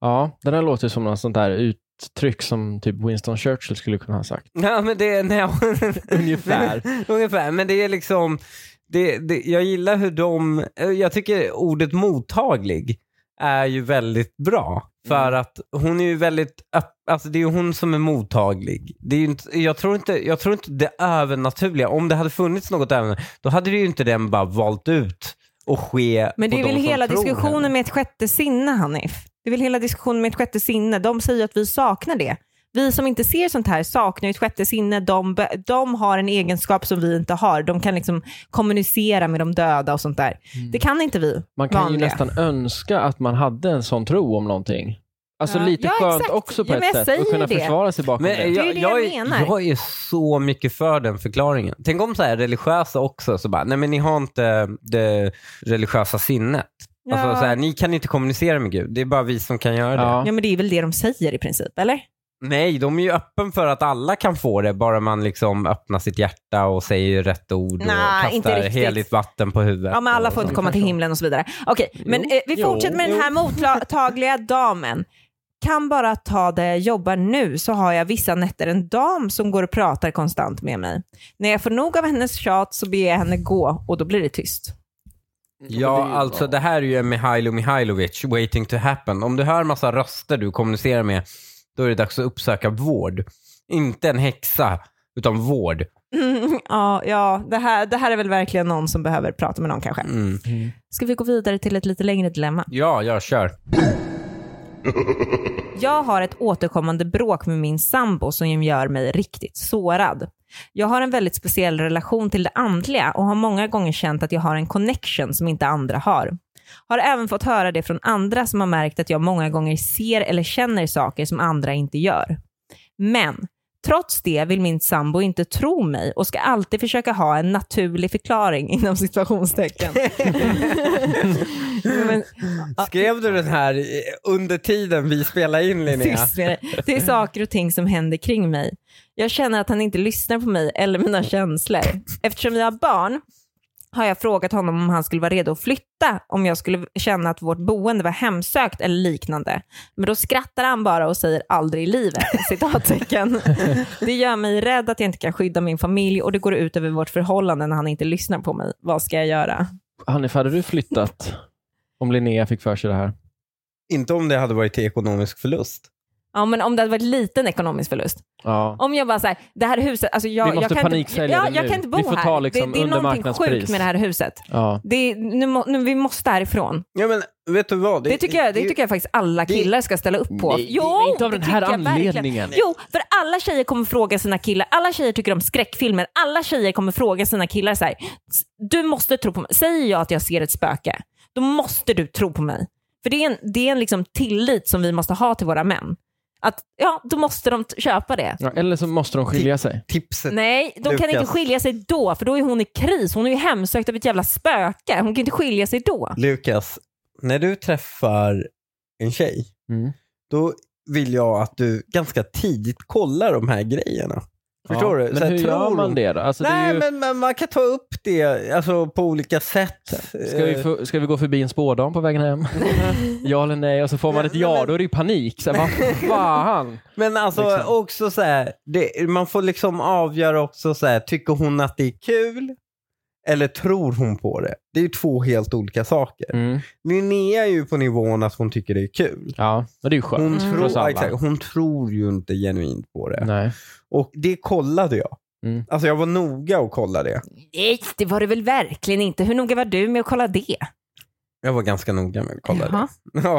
Speaker 3: Ja, den här låter som något sånt där uttryck som typ Winston Churchill skulle kunna ha sagt.
Speaker 2: Ja, men det, nej,
Speaker 3: Ungefär.
Speaker 2: Ungefär, men det är liksom, det, det, jag gillar hur de, eh, jag tycker ordet mottaglig är ju väldigt bra. För att hon är ju väldigt, öpp- alltså det är ju hon som är mottaglig. Det är ju inte, jag, tror inte, jag tror inte det övernaturliga, om det hade funnits något övernaturligt, då hade det ju inte den bara valt ut och ske
Speaker 1: Men det är
Speaker 2: på
Speaker 1: väl
Speaker 2: de som
Speaker 1: hela
Speaker 2: tror henne.
Speaker 1: diskussionen med ett sjätte sinne, Hanif. Det är väl hela diskussionen med ett sjätte sinne. De säger att vi saknar det. Vi som inte ser sånt här saknar ju ett sjätte sinne. De, be- de har en egenskap som vi inte har. De kan liksom kommunicera med de döda och sånt där. Det kan inte vi
Speaker 3: Man kan
Speaker 1: vanliga.
Speaker 3: ju nästan önska att man hade en sån tro om någonting. Alltså
Speaker 1: Ja.
Speaker 3: lite
Speaker 1: Ja,
Speaker 3: skönt
Speaker 1: exakt.
Speaker 3: också på
Speaker 1: Ja, men jag
Speaker 3: ett sätt. Att
Speaker 1: säger
Speaker 3: kunna
Speaker 1: det.
Speaker 3: försvara sig bakom det.
Speaker 2: Men
Speaker 1: är
Speaker 2: jag,
Speaker 1: ju det
Speaker 2: jag,
Speaker 1: jag menar.
Speaker 2: är, jag är så mycket för den förklaringen. Tänk om så här religiösa också, så bara, nej men ni har inte det religiösa sinnet.
Speaker 1: Ja.
Speaker 2: Alltså så här, ni kan inte kommunicera med Gud, det är bara vi som kan göra det.
Speaker 3: Ja.
Speaker 1: Ja, men det är väl det de säger i princip, eller?
Speaker 2: Nej, de är ju öppen för att alla kan få det, bara man liksom öppnar sitt hjärta och säger rätt ord och
Speaker 1: Nej, inte
Speaker 2: kastar
Speaker 1: riktigt.
Speaker 2: heligt vatten på huvudet.
Speaker 1: Ja, men alla
Speaker 2: och
Speaker 1: får inte
Speaker 2: sånt.
Speaker 1: komma till himlen och så vidare. Okej, men eh, vi
Speaker 2: Jo,
Speaker 1: fortsätter med den
Speaker 2: jo.
Speaker 1: här mottagliga damen. Kan bara ta det jag jobbar nu så har jag vissa nätter en dam som går och pratar konstant med mig. När jag får nog av hennes tjat så ber jag henne gå och då blir det tyst.
Speaker 2: Ja, alltså det här är ju en Mihailo Mihailovic, waiting to happen. Om du hör massa röster du kommunicerar med, då är det dags att uppsöka vård. Inte en häxa, utan vård.
Speaker 1: Mm, ja, ja det, här, det här är väl verkligen någon som behöver prata med någon kanske.
Speaker 2: Mm.
Speaker 1: Ska vi gå vidare till ett lite längre dilemma?
Speaker 2: Ja, jag kör.
Speaker 1: Jag har ett återkommande bråk med min sambo som gör mig riktigt sårad. Jag har en väldigt speciell relation till det andliga och har många gånger känt att jag har en connection som inte andra har. Har även fått höra det från andra som har märkt att jag många gånger ser eller känner saker som andra inte gör. Men trots det vill min sambo inte tro mig och ska alltid försöka ha en naturlig förklaring inom situationstecken. Men-
Speaker 2: Ah. Skrev du den här i- under tiden vi spelade in, Linnea?
Speaker 1: Tyst med dig. Det är saker och ting som händer kring mig. Jag känner att han inte lyssnar på mig eller mina känslor. Eftersom vi har barn har jag frågat honom om han skulle vara redo att flytta om jag skulle känna att vårt boende var hemsökt eller liknande. Men då skrattar han bara och säger aldrig i livet. Citattecken. Det gör mig rädd att jag inte kan skydda min familj och det går ut över vårt förhållande när han inte lyssnar på mig. Vad ska jag göra?
Speaker 3: Hanif, hade du flyttat om Linnea fick för sig det här?
Speaker 2: Inte om det hade varit till ekonomisk förlust.
Speaker 1: Ja, men om det hade varit liten ekonomisk förlust.
Speaker 3: Ja.
Speaker 1: Om jag bara säger, det här huset, alltså jag,
Speaker 3: Vi måste
Speaker 1: jag kan
Speaker 3: paniksälja
Speaker 1: inte,
Speaker 3: det
Speaker 1: ja, jag
Speaker 3: nu.
Speaker 1: kan inte bo
Speaker 3: Vi får
Speaker 1: här.
Speaker 3: ta liksom
Speaker 1: det, det är
Speaker 3: under
Speaker 1: någonting
Speaker 3: marknadspris.
Speaker 1: sjukt med det här huset.
Speaker 3: ja.
Speaker 1: Det är, nu, må, nu, vi måste härifrån.
Speaker 2: Ja, men vet du vad?
Speaker 1: Det, tycker, jag, det tycker jag faktiskt alla
Speaker 2: det-
Speaker 1: killar ska ställa upp på.
Speaker 2: Nej, det-
Speaker 1: jo,
Speaker 3: men inte av
Speaker 1: det
Speaker 3: den här
Speaker 1: tycker jag verkligen.
Speaker 3: anledningen.
Speaker 1: Jo, för alla tjejer kommer fråga sina killar, alla tjejer tycker om skräckfilmer, alla tjejer kommer fråga sina killar så här, "S- du måste tro på mig. Säger jag att jag ser ett spöke, då måste du tro på mig. För det är en, det är en liksom tillit som vi måste ha till våra män. Att, ja, då måste de t- köpa det.
Speaker 3: Ja, eller så måste de skilja sig.
Speaker 2: Tipset.
Speaker 1: Nej, de kan
Speaker 2: Lukas.
Speaker 1: inte skilja sig då, för då är hon i kris. Hon är ju hemsökt av ett jävla spöke. Hon kan inte skilja sig då.
Speaker 2: Lukas, när du träffar en tjej,
Speaker 3: Mm.
Speaker 2: då vill jag att du ganska tidigt kollar de här grejerna. Förstår
Speaker 3: ja.
Speaker 2: du?
Speaker 3: Men
Speaker 2: här,
Speaker 3: hur gör
Speaker 2: tror
Speaker 3: man
Speaker 2: hon-
Speaker 3: det då? Alltså, det
Speaker 2: Nej,
Speaker 3: är ju...
Speaker 2: men, men man kan ta upp det alltså, på olika sätt. Eh,
Speaker 3: Ska vi, få, ska vi gå förbi en spådam på vägen hem? ja eller nej? Och så får man ett
Speaker 2: Men-
Speaker 3: ja,
Speaker 2: men-
Speaker 3: då är det ju panik. Så här, vad fan?
Speaker 2: Men alltså
Speaker 3: Liksom.
Speaker 2: också så här, det, man får liksom avgöra också så här, tycker hon att det är kul eller tror hon på det? Det är ju två helt olika saker.
Speaker 3: Mm.
Speaker 2: Linnea är ju på nivån att hon tycker det är kul.
Speaker 3: Ja, men det är ju skönt.
Speaker 2: Hon,
Speaker 1: Mm.
Speaker 2: tror,
Speaker 3: Hos alla.
Speaker 2: ja, exakt, hon tror ju inte genuint på det.
Speaker 3: Nej.
Speaker 2: Och det kollade jag.
Speaker 3: Mm.
Speaker 2: Alltså jag var noga och kollade det.
Speaker 1: Nej, det var det väl verkligen inte. Hur noga var du med att kolla det?
Speaker 2: Jag var ganska noga med att kolla
Speaker 1: Jaha.
Speaker 2: det. Ja,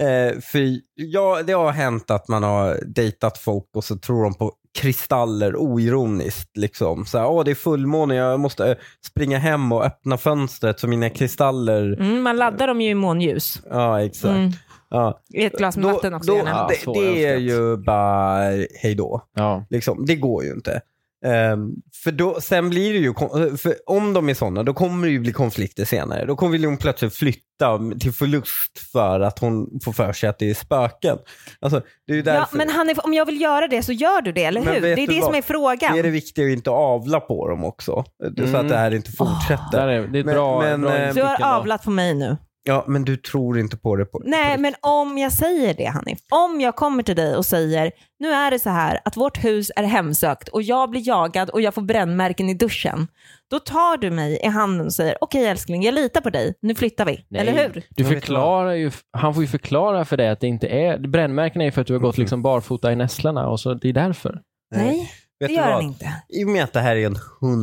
Speaker 2: eh, för ja, det har hänt att man har dejtat folk och så tror de på kristaller oironiskt. Liksom. Så här, Åh, det är fullmåne, jag måste eh, springa hem och öppna fönstret så mina kristaller...
Speaker 1: Mm, man laddar dem ju i månljus.
Speaker 2: Ja, exakt.
Speaker 1: Mm.
Speaker 2: Ja.
Speaker 1: I ett glas med
Speaker 2: Då-
Speaker 1: vatten också
Speaker 2: då,
Speaker 1: gärna.
Speaker 3: Ja,
Speaker 2: det,
Speaker 3: så
Speaker 2: det är
Speaker 3: önskat.
Speaker 2: ju bara hej då.
Speaker 3: Ja.
Speaker 2: Liksom. Det går ju inte. Ehm, för då, sen blir det ju, kon- för om de är sådana, då kommer det ju bli konflikter senare. Då kommer hon plötsligt flytta till förlust för att hon får för sig att det är spöken. Alltså, det är ju
Speaker 1: Ja,
Speaker 2: därför.
Speaker 1: men Hanif, om jag vill göra det så gör du det, eller hur?
Speaker 2: Men
Speaker 1: Det
Speaker 2: vet
Speaker 1: är det
Speaker 2: du vad?
Speaker 1: som är frågan.
Speaker 2: Det är det viktiga att inte avla på dem också. Så
Speaker 1: Mm.
Speaker 2: att det här inte fortsätter.
Speaker 3: Där är, det är ett
Speaker 2: Men-
Speaker 3: bra,
Speaker 2: men,
Speaker 3: bra
Speaker 2: eh,
Speaker 1: Så du
Speaker 3: inblick
Speaker 1: har
Speaker 3: ändå.
Speaker 1: avlat på mig nu.
Speaker 2: Ja, men du tror inte på det. På,
Speaker 1: Nej, men om jag säger det Hanif. Om jag kommer till dig och säger, nu är det så här att vårt hus är hemsökt och jag blir jagad och jag får brännmärken i duschen. Då tar du mig i handen och säger, okej älskling, jag litar på dig, nu flyttar vi. Eller hur?
Speaker 3: Du
Speaker 2: Jag vet
Speaker 3: förklarar ju, han får ju förklara för dig att det inte är... Brännmärkena är ju för att du har gått liksom barfota i nässlorna och så det är därför.
Speaker 2: Nej,
Speaker 1: Nej,
Speaker 2: Vet
Speaker 1: det
Speaker 2: du
Speaker 1: gör
Speaker 2: vad?
Speaker 1: han inte.
Speaker 2: I och med att det här är en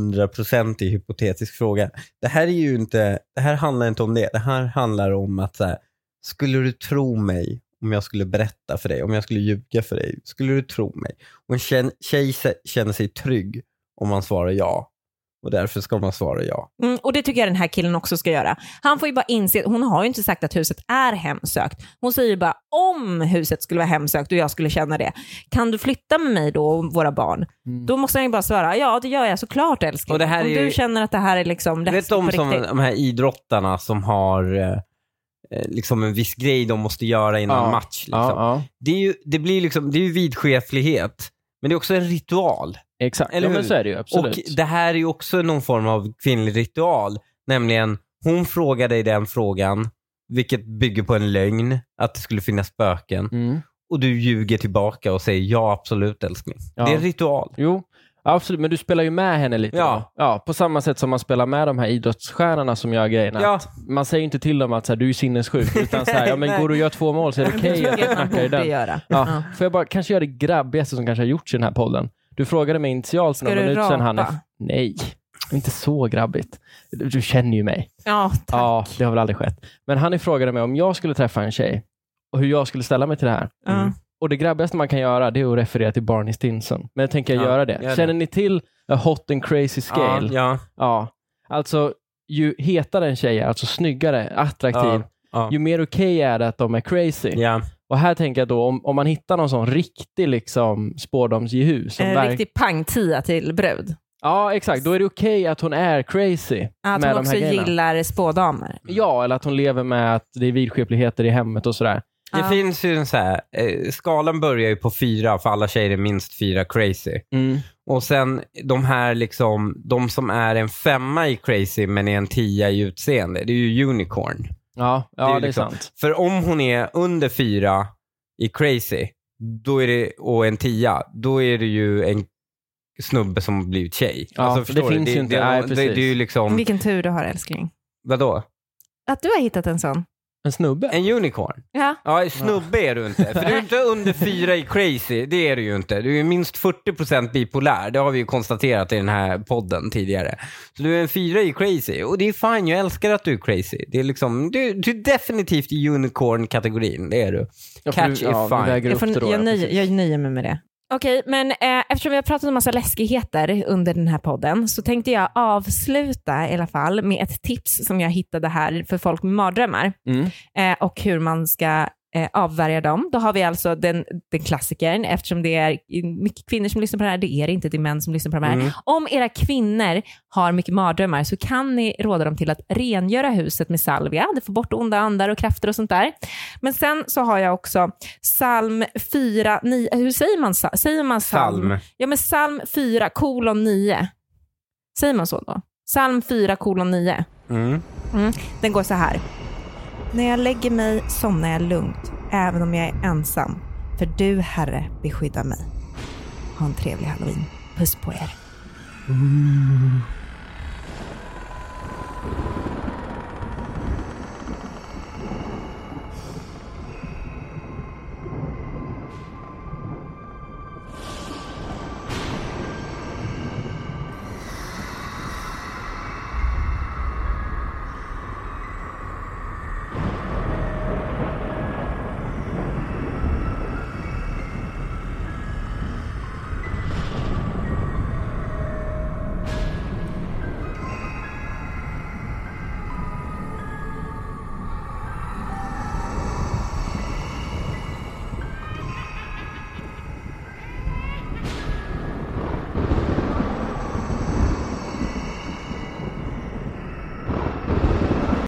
Speaker 2: hundraprocentig hypotetisk fråga. Det här är ju inte, det här handlar inte om det. Det här handlar om att så här, skulle du tro mig om jag skulle berätta för dig, om jag skulle ljuga för dig, skulle du tro mig? Och en tjej, tjej se- känner sig trygg om man svarar ja. Och därför ska man svara ja.
Speaker 1: Mm, och det tycker jag den här killen också ska göra. Han får ju bara inse, hon har ju inte sagt att huset är hemsökt. Hon säger ju bara om huset skulle vara hemsökt och jag skulle känna det, kan du flytta med mig då och våra barn?
Speaker 2: Mm.
Speaker 1: Då måste han ju bara svara, ja det gör jag såklart älskling.
Speaker 2: Och det här
Speaker 1: om
Speaker 2: är ju-
Speaker 1: du känner att det här är liksom
Speaker 2: Du vet
Speaker 1: läskigt på
Speaker 2: de,
Speaker 1: riktigt.
Speaker 2: som, de här idrottarna som har eh, eh, liksom en viss grej de måste göra innan
Speaker 3: Ja.
Speaker 2: match. Liksom.
Speaker 3: Ja, ja.
Speaker 2: Det, är ju, det, blir liksom, det är ju vidskeplighet, men det är också en ritual.
Speaker 3: Exakt.
Speaker 2: Eller
Speaker 3: ja, men
Speaker 2: hur?
Speaker 3: så är det ju absolut.
Speaker 2: Och det här är ju också någon form av kvinnlig ritual, nämligen hon frågar dig den frågan, vilket bygger på en lögn, att det skulle finnas spöken,
Speaker 3: mm.
Speaker 2: och du ljuger tillbaka och säger ja absolut älskling.
Speaker 3: Ja.
Speaker 2: Det är en ritual.
Speaker 3: Jo, absolut. Men du spelar ju med henne lite.
Speaker 2: Ja.
Speaker 3: då. ja. På samma sätt som man spelar med de här idrottsstjärnorna som gör grejerna.
Speaker 2: Ja.
Speaker 3: Man säger ju inte till dem att så här, du är sinnessjuk, utan så här, ja, men
Speaker 2: Nej.
Speaker 3: går du och gör två mål så är det
Speaker 1: Det
Speaker 3: okej att
Speaker 1: tycker jag
Speaker 3: jag
Speaker 1: att man
Speaker 3: knackar i
Speaker 1: borde
Speaker 3: den.
Speaker 1: göra.
Speaker 3: Ja. Får jag bara kanske göra det grabbigaste som kanske har gjorts i den här podden? Du frågade mig initialt för
Speaker 1: Ska
Speaker 3: några
Speaker 1: du
Speaker 3: minuter sedan,
Speaker 1: rapa?
Speaker 3: Hanif. Nej, inte så grabbigt. Du, du känner ju mig.
Speaker 1: Ja, tack.
Speaker 3: Ja, det har väl aldrig skett. Men han frågade mig om jag skulle träffa en tjej och hur jag skulle ställa mig till det här.
Speaker 1: Ja.
Speaker 3: Och det grabbigaste man kan göra det är att referera till Barney Stinson. Men jag tänker
Speaker 2: Ja,
Speaker 3: göra det.
Speaker 2: gör det.
Speaker 3: Känner ni till A Hot and Crazy Scale?
Speaker 2: Ja, ja,
Speaker 3: Ja. Alltså, ju hetare en tjej är, alltså snyggare, attraktiv,
Speaker 2: ja,
Speaker 3: ju mer okej är det att de är crazy.
Speaker 2: ja.
Speaker 3: Och här tänker jag då, om, om man hittar någon sån riktig liksom, spårdomsjehu. som
Speaker 1: En
Speaker 3: verk-
Speaker 1: Eh, riktig pangtia till brud.
Speaker 3: Ja, exakt. Då är det okej att hon är crazy
Speaker 1: Att
Speaker 3: med
Speaker 1: hon
Speaker 3: de
Speaker 1: också
Speaker 3: här grejerna. Mm.
Speaker 1: gillar spådamer.
Speaker 3: Ja, eller att hon lever med att det är vidskepligheter i hemmet och sådär.
Speaker 2: Det
Speaker 1: Ja.
Speaker 2: finns ju en så här, eh, skalan börjar ju på fyra, för alla tjejer är minst fyra crazy. Och sen de här liksom, de som är en femma i crazy men är en tia i utseende, det är ju unicorn.
Speaker 3: Ja, ja, det är,
Speaker 2: ju liksom-
Speaker 3: sant.
Speaker 2: För om hon är under fyra i crazy då är det, och en tia, då är det ju en snubbe som har blivit tjej. Alltså,
Speaker 3: Ja, det
Speaker 2: förstår du?
Speaker 3: finns ju inte.
Speaker 2: Det,
Speaker 3: Nej,
Speaker 2: det, det,
Speaker 3: precis.
Speaker 2: är ju liksom,
Speaker 1: Vilken tur du har älskling.
Speaker 2: vadå?
Speaker 1: Att du har hittat en sån.
Speaker 3: En snubbe?
Speaker 2: En unicorn?
Speaker 1: Ja.
Speaker 2: Ja, snubbe är du inte. För du är inte under fyra i crazy, det är du ju inte. Du är ju minst 40% bipolär, det har vi ju konstaterat i den här podden tidigare. Så du är en fyra i crazy, och det är fine, jag älskar att du är crazy. Det är liksom, du, du är definitivt i unicorn-kategorin, det är du.
Speaker 3: Ja, för
Speaker 2: Catch
Speaker 3: du-
Speaker 2: is
Speaker 3: ja, du
Speaker 2: fine.
Speaker 3: väger
Speaker 1: Jag,
Speaker 3: upp det
Speaker 1: får,
Speaker 3: då,
Speaker 1: jag,
Speaker 3: ja,
Speaker 1: nöjer,
Speaker 3: precis.
Speaker 1: jag nöjer mig med det. Okej, men eh, eftersom vi har pratat om massa läskigheter under den här podden så tänkte jag avsluta i alla fall med ett tips som jag hittade här för folk med mardrömmar
Speaker 3: Mm.
Speaker 1: eh, och hur man ska eh, avvärja dem. Då har vi alltså den, den klassikern, eftersom det är mycket kvinnor som lyssnar på det här, det är det inte, det är män som lyssnar på det här.
Speaker 2: Mm.
Speaker 1: Om era kvinnor har mycket mardrömmar så kan ni råda dem till att rengöra huset med salvia. Det får bort onda andar och krafter och sånt där. Men sen så har jag också psalm 4, 9, hur säger man, sa- säger man psalm?
Speaker 2: Salm.
Speaker 1: Ja men psalm 4, kolon 9. Säger man så då? Psalm 4, kolon 9.
Speaker 2: Mm.
Speaker 1: Den går så här. När jag lägger mig somnar jag lugnt, även om jag är ensam. För du, Herre, beskyddar mig. Ha en trevlig halloween. Puss på er.